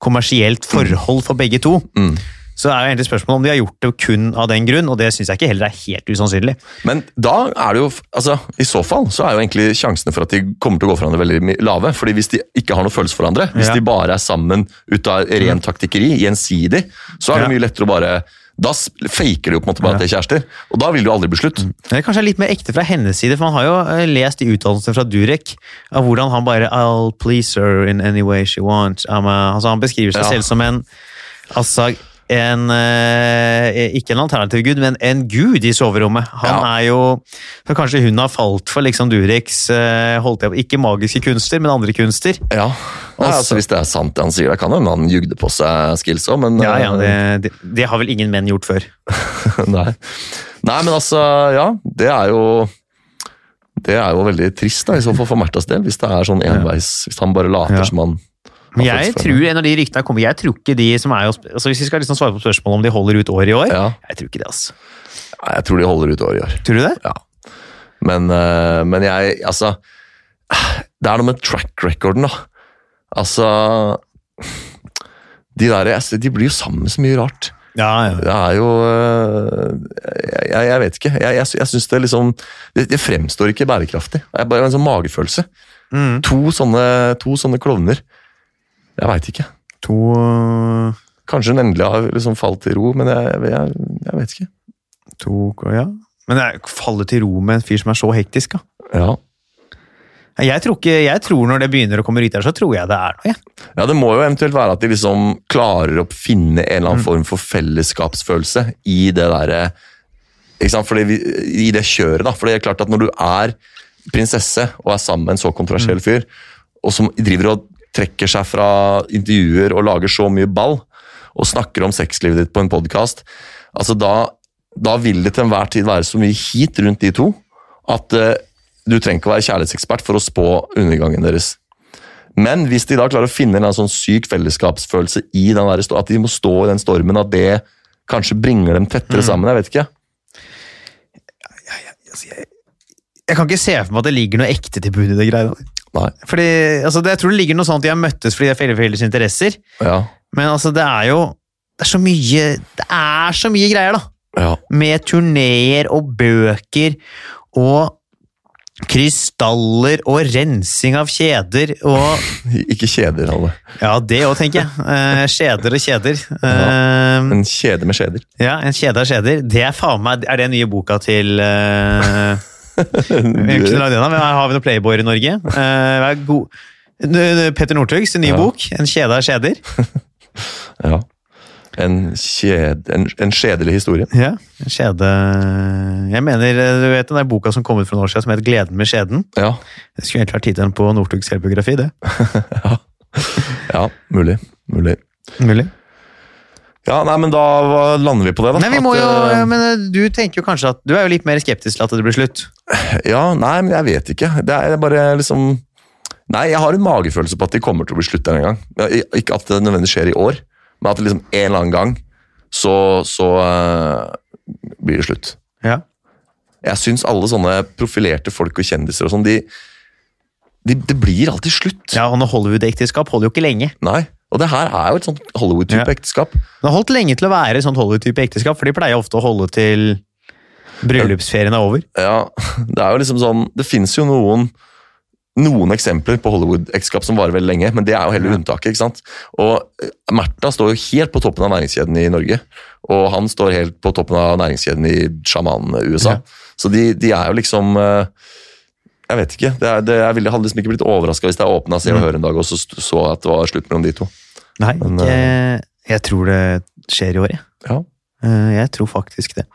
[SPEAKER 2] kommersielt forhold for begge to.
[SPEAKER 3] Mm.
[SPEAKER 2] Så det er jo egentlig spørsmålet om de har gjort det kun av den grunn, og det syns jeg ikke heller er helt usannsynlig.
[SPEAKER 3] Men da er det jo altså, I så fall så er jo egentlig sjansene for at de kommer til å gå for hverandre veldig mi- lave. fordi hvis de ikke har noe følelse for hverandre, hvis
[SPEAKER 2] Ja. Mm.
[SPEAKER 3] de bare er sammen ut av ren taktikkeri, gjensidig, så er det
[SPEAKER 2] Ja.
[SPEAKER 3] mye lettere å bare Da s- faker de jo på en måte bare at de er kjærester, og da vil det jo aldri bli slutt.
[SPEAKER 2] Men det Eh, kanskje er litt mer ekte fra hennes side, for man har jo eh, lest i uttalelsene fra Durek av hvordan han bare I'll please her in any way she wants. I'm a, altså han beskriver seg
[SPEAKER 3] Ja.
[SPEAKER 2] selv som en altså en, eh, ikke en alternativ gud, men en gud i soverommet. Han
[SPEAKER 3] Ja.
[SPEAKER 2] er jo så Kanskje hun har falt for liksom Dureks eh, holdt jeg på, ikke magiske kunster, men andre kunster.
[SPEAKER 3] Ja, Nei, altså, Hvis det er sant det han sier, da kan det hende han jugde på seg skills òg, men
[SPEAKER 2] Ja, ja,
[SPEAKER 3] eh,
[SPEAKER 2] det, det, det har vel ingen menn gjort før.
[SPEAKER 3] Nei. Nei, men altså, ja. Det er jo det er jo veldig trist da, i så fall for Märthas del, hvis det er sånn enveis. Hvis han bare later
[SPEAKER 2] Ja.
[SPEAKER 3] som han
[SPEAKER 2] Men
[SPEAKER 3] har
[SPEAKER 2] jeg
[SPEAKER 3] fått
[SPEAKER 2] tror en av de ryktene er kommet. Jeg tror ikke de som er jo sp- altså Hvis vi skal liksom svare på spørsmålet om de holder ut året i år
[SPEAKER 3] Ja.
[SPEAKER 2] Jeg tror ikke det, altså.
[SPEAKER 3] Nei, Jeg tror de holder ut året i år.
[SPEAKER 2] Tror du det?
[SPEAKER 3] Ja. Men, eh, men jeg Altså, det er noe med track recorden, da. Altså De der jeg ser- De blir jo sammen med så mye rart.
[SPEAKER 2] Ja, ja.
[SPEAKER 3] Det er jo øh, Jeg, jeg vet ikke. Jeg, jeg, sy- jeg syns det liksom det, det fremstår ikke bærekraftig. Det er bare en sånn magefølelse.
[SPEAKER 2] Mm.
[SPEAKER 3] To sånne, to sånne klovner. Jeg veit ikke.
[SPEAKER 2] To
[SPEAKER 3] Kanskje hun endelig har liksom falt til ro, men jeg, jeg, jeg vet ikke.
[SPEAKER 2] To Ja. Men jeg faller til ro med en fyr som er så hektisk, da.
[SPEAKER 3] Ja.
[SPEAKER 2] Jeg tror, ikke, jeg tror når det begynner å komme rytter, så tror jeg det er noe. jeg.
[SPEAKER 3] ja, Det må jo eventuelt være at de liksom klarer å finne en eller annen form for fellesskapsfølelse i det derre ikke sant? Fordi vi, I det kjøret, da. For det er klart at når du er prinsesse og er sammen med en så kontroversiell fyr, og som driver og trekker seg fra intervjuer og lager så mye ball, og snakker om sexlivet ditt på en podkast, altså da, da vil det til enhver tid være så mye hit rundt de to at eh, du trenger ikke å være kjærlighetsekspert for å spå undergangen deres. Men hvis de da klarer å finne en eller annen sånn syk fellesskapsfølelse i den der, sto- at de må stå i den stormen, at det kanskje bringer dem
[SPEAKER 2] Mm.
[SPEAKER 3] tettere sammen, jeg vet ikke.
[SPEAKER 2] Altså, jeg. Jeg kan ikke se for meg at det ligger noe ekte til bunn i det greia.
[SPEAKER 3] Nei,
[SPEAKER 2] Fordi, altså, det, jeg tror det ligger noe sånn at de har møttes fordi de har felles- felles interesser,
[SPEAKER 3] ja.
[SPEAKER 2] men altså, det er jo det er så mye, det er så mye greier, da.
[SPEAKER 3] Ja,
[SPEAKER 2] med turneer og bøker og krystaller og rensing av kjeder og
[SPEAKER 3] ikke kjeder, Halle.
[SPEAKER 2] Ja, det òg, tenker jeg. Eh, kjeder og kjeder. Eh,
[SPEAKER 3] En kjede med kjeder.
[SPEAKER 2] ja, en kjede av kjeder. Det er faen meg Er det nye boka til eh, vi har ikke lagd den, da, men Har vi noen playboyer i Norge? Eh, vær god. N- n- Petter Northugs nye
[SPEAKER 3] Ja.
[SPEAKER 2] bok, 'En kjede av kjeder'.
[SPEAKER 3] Ja. En, kjed, en, en skjedelig historie.
[SPEAKER 2] Ja, en kjede Jeg mener, eh, du vet den der boka som kom ut for noen år siden som het 'Gleden med skjeden'?
[SPEAKER 3] Ja,
[SPEAKER 2] Det skulle egentlig vært tittelen på Northugs selvbiografi, det.
[SPEAKER 3] ja mulig. mulig.
[SPEAKER 2] Mulig.
[SPEAKER 3] Ja, nei, men da hva- lander vi på det, da.
[SPEAKER 2] Nei, vi
[SPEAKER 3] At,
[SPEAKER 2] må jo,
[SPEAKER 3] eh,
[SPEAKER 2] men eh, du tenker jo kanskje at du er jo litt mer skeptisk til at det blir slutt.
[SPEAKER 3] Ja, nei, men jeg vet ikke. Det er bare liksom Nei, jeg har en magefølelse på at de kommer til å bli slutt en gang. Ja, i- Ikke at det nødvendigvis skjer i år, men at det liksom en eller annen gang så, så eh, blir det slutt.
[SPEAKER 2] Ja.
[SPEAKER 3] Jeg syns alle sånne profilerte folk og kjendiser og sånn, de, de Det blir alltid slutt.
[SPEAKER 2] ja og når Hollywood-ekteskap holder jo ikke lenge.
[SPEAKER 3] Nei. Og det her er jo et sånt Hollywood-type
[SPEAKER 2] Ja.
[SPEAKER 3] ekteskap.
[SPEAKER 2] Det har holdt lenge til å være sånn Hollywood-type ekteskap, for de pleier ofte å holde til bryllupsferien er over.
[SPEAKER 3] Ja, Det er jo liksom sånn, det fins jo noen noen eksempler på Hollywood-ekteskap som varer veldig lenge, men det er jo heller unntaket. ikke sant? Og eh, Märtha står jo helt på toppen av næringskjeden i Norge, og han står helt på toppen av næringskjeden i sjamanen-USA.
[SPEAKER 2] Ja.
[SPEAKER 3] Så de, de er jo liksom eh, Jeg vet ikke. Det er, det, jeg ville- hadde liksom ikke blitt overraska hvis jeg åpna Se
[SPEAKER 2] Mm.
[SPEAKER 3] og Hør en dag og så st- så at det var slutt mellom de to.
[SPEAKER 2] Nei,
[SPEAKER 3] Men, eh,
[SPEAKER 2] ikke, jeg tror det skjer i år, jeg.
[SPEAKER 3] Ja,
[SPEAKER 2] Eh, Jeg tror faktisk det.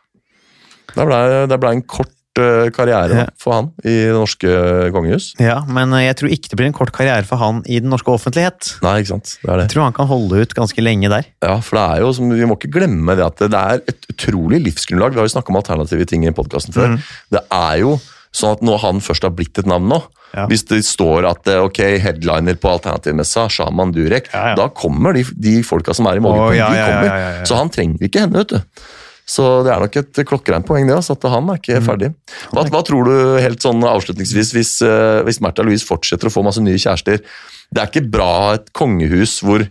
[SPEAKER 3] Det ble, det ble en kort eh, karriere
[SPEAKER 2] Ja.
[SPEAKER 3] da, for han i det norske kongehus.
[SPEAKER 2] Ja, Men eh, jeg tror ikke det blir en kort karriere for han i den norske offentlighet.
[SPEAKER 3] Nei, ikke sant. Det er det.
[SPEAKER 2] Jeg tror han kan holde ut ganske lenge der.
[SPEAKER 3] Ja, for det er jo, som, Vi må ikke glemme det at det er et utrolig livsgrunnlag. Vi har jo snakka om alternative ting i podkasten
[SPEAKER 2] Mm.
[SPEAKER 3] før. Det er jo sånn at når han først har blitt et navn nå
[SPEAKER 2] Ja.
[SPEAKER 3] Hvis det står at eh, ok, headliner på alternativmessa, Shaman Durek
[SPEAKER 2] Ja, ja.
[SPEAKER 3] Da kommer de, de folka som er i
[SPEAKER 2] Å,
[SPEAKER 3] morgen, de
[SPEAKER 2] ja, ja,
[SPEAKER 3] kommer.
[SPEAKER 2] ja, ja, ja.
[SPEAKER 3] Så han trenger ikke henne, vet du. Så det er nok et klokkereint poeng, det. Altså, at han er
[SPEAKER 2] Mm.
[SPEAKER 3] ikke ferdig. Hva, hva tror du helt sånn avslutningsvis, hvis, eh, hvis Märtha Louise fortsetter å få masse nye kjærester? Det er ikke bra et kongehus hvor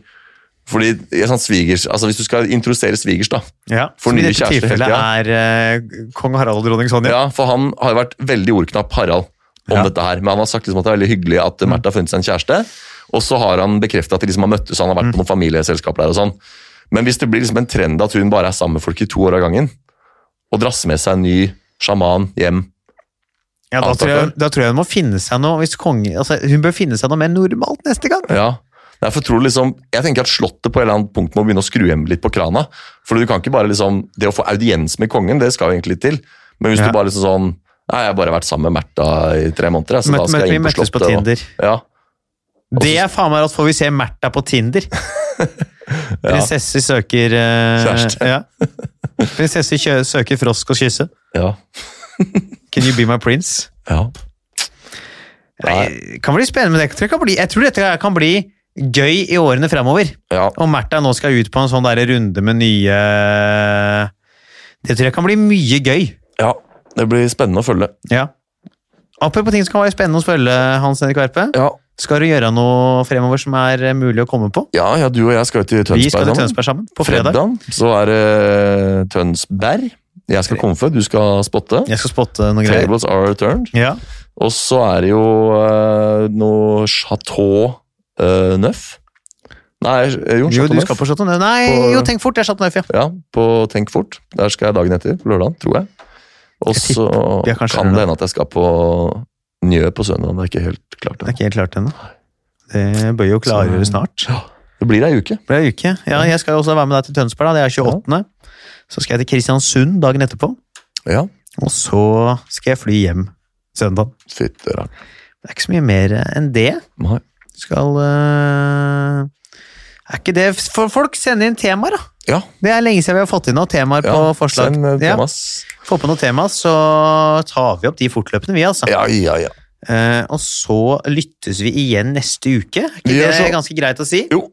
[SPEAKER 3] Fordi ikke sant, svigers, altså Hvis du skal introdusere svigers, da.
[SPEAKER 2] Ja,
[SPEAKER 3] For
[SPEAKER 2] som i
[SPEAKER 3] nye
[SPEAKER 2] dette
[SPEAKER 3] kjærester hele
[SPEAKER 2] tilfellet er eh, kong Harald og dronning Sonja.
[SPEAKER 3] Ja, For han har jo vært veldig ordknapp, Harald, om
[SPEAKER 2] Ja. Mm.
[SPEAKER 3] dette her. Men han har sagt liksom at det er veldig hyggelig at eh, Märtha har funnet seg en kjæreste. Og så har han bekreftet at de liksom har møttes, han har
[SPEAKER 2] Mm.
[SPEAKER 3] vært på noen familieselskap der og sånn. Men hvis det blir liksom en trend at hun bare er sammen med folk i to år av gangen, og drasser med seg en ny sjaman hjem
[SPEAKER 2] Ja, da,
[SPEAKER 3] Alt
[SPEAKER 2] tror jeg,
[SPEAKER 3] dette.
[SPEAKER 2] da tror jeg hun må finne seg noe hvis konge, altså, Hun bør finne seg noe mer normalt neste gang.
[SPEAKER 3] Ja. Derfor tror du liksom, Jeg tenker at Slottet på et eller annet punkt må begynne å skru hjem litt på krana. For du kan ikke bare liksom, Det å få audiens med kongen, det skal jo egentlig litt til. Men hvis
[SPEAKER 2] Ja.
[SPEAKER 3] du bare liksom sånn Nei, jeg har bare vært sammen med Märtha i tre måneder. jeg, Så
[SPEAKER 2] Møt,
[SPEAKER 3] da
[SPEAKER 2] møt,
[SPEAKER 3] skal jeg
[SPEAKER 2] vi
[SPEAKER 3] inn på
[SPEAKER 2] møttes
[SPEAKER 3] Slottet.
[SPEAKER 2] på Tinder.
[SPEAKER 3] Og, ja.
[SPEAKER 2] Det er faen meg at får vi se Märtha på Tinder. Prinsesse søker eh,
[SPEAKER 3] Kjæreste.
[SPEAKER 2] Ja. Prinsesse kjø, søker frosk og kysse.
[SPEAKER 3] ja,
[SPEAKER 2] Can you be my prince?
[SPEAKER 3] ja.
[SPEAKER 2] Nei, kan bli spennende, men jeg tror, det kan bli, jeg tror dette kan bli gøy i årene fremover.
[SPEAKER 3] ja.
[SPEAKER 2] Og Märtha nå skal ut på en sånn der runde med nye Det tror jeg kan bli mye gøy.
[SPEAKER 3] ja. Det blir spennende å følge.
[SPEAKER 2] Ja. Apropos ting som kan være spennende å følge, Hans Henrik Verpe.
[SPEAKER 3] Ja,
[SPEAKER 2] Skal du gjøre noe fremover som er eh, mulig å komme på?
[SPEAKER 3] ja, ja du og jeg skal jo til Tønsberg.
[SPEAKER 2] Vi skal til
[SPEAKER 3] sammen.
[SPEAKER 2] Tønsberg sammen på fredag.
[SPEAKER 3] Fredag så er det eh, Tønsberg. Jeg skal komme før, du skal spotte.
[SPEAKER 2] Jeg skal spotte noen greier.
[SPEAKER 3] Tables are returned.
[SPEAKER 2] Ja.
[SPEAKER 3] Og så er det jo eh, noe Chateau eh, Neuf. Nei, eh,
[SPEAKER 2] Jo,
[SPEAKER 3] jo, Chateau
[SPEAKER 2] du
[SPEAKER 3] Neuf.
[SPEAKER 2] skal på Chateau Neuf. Nei,
[SPEAKER 3] På-
[SPEAKER 2] jo, tenk fort, det er Chateau Neuf, ja.
[SPEAKER 3] Ja, på Tenk fort. Der skal jeg dagen etter, på lørdagen, tror jeg. Og
[SPEAKER 2] Jeg
[SPEAKER 3] så
[SPEAKER 2] vi er kanskje
[SPEAKER 3] kan
[SPEAKER 2] lørdag.
[SPEAKER 3] det hende at jeg skal på Njø på søndag. Det er ikke helt klart.
[SPEAKER 2] Det er
[SPEAKER 3] ennå.
[SPEAKER 2] ikke helt klart ennå. Det bør jo klargjøres snart.
[SPEAKER 3] Det blir ei uke.
[SPEAKER 2] Det blir ei uke. Ja, jeg skal jo også være med deg til Tønsberg, da. Det er 28. Så skal jeg til Kristiansund dagen etterpå.
[SPEAKER 3] Ja.
[SPEAKER 2] Og så skal jeg fly hjem søndag.
[SPEAKER 3] Fytti rakkeren.
[SPEAKER 2] Det er ikke så mye mer eh, enn det.
[SPEAKER 3] Nei.
[SPEAKER 2] Skal eh, Er ikke det For folk sender inn temaer, da.
[SPEAKER 3] Ja.
[SPEAKER 2] Det er lenge siden vi har fått inn noen temaer
[SPEAKER 3] ja.
[SPEAKER 2] på forslag.
[SPEAKER 3] Send eh,
[SPEAKER 2] Ja,
[SPEAKER 3] Thomas.
[SPEAKER 2] Få på noen temaer, så tar vi opp de fortløpende, vi, altså.
[SPEAKER 3] Ja, ja, ja.
[SPEAKER 2] Eh, og så lyttes vi igjen neste uke. Er ikke
[SPEAKER 3] Vi
[SPEAKER 2] det
[SPEAKER 3] gjør så.
[SPEAKER 2] ganske greit å si?
[SPEAKER 3] Jo.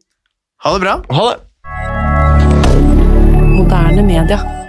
[SPEAKER 2] Ha det bra!
[SPEAKER 3] Ha det!
[SPEAKER 1] Moderne media.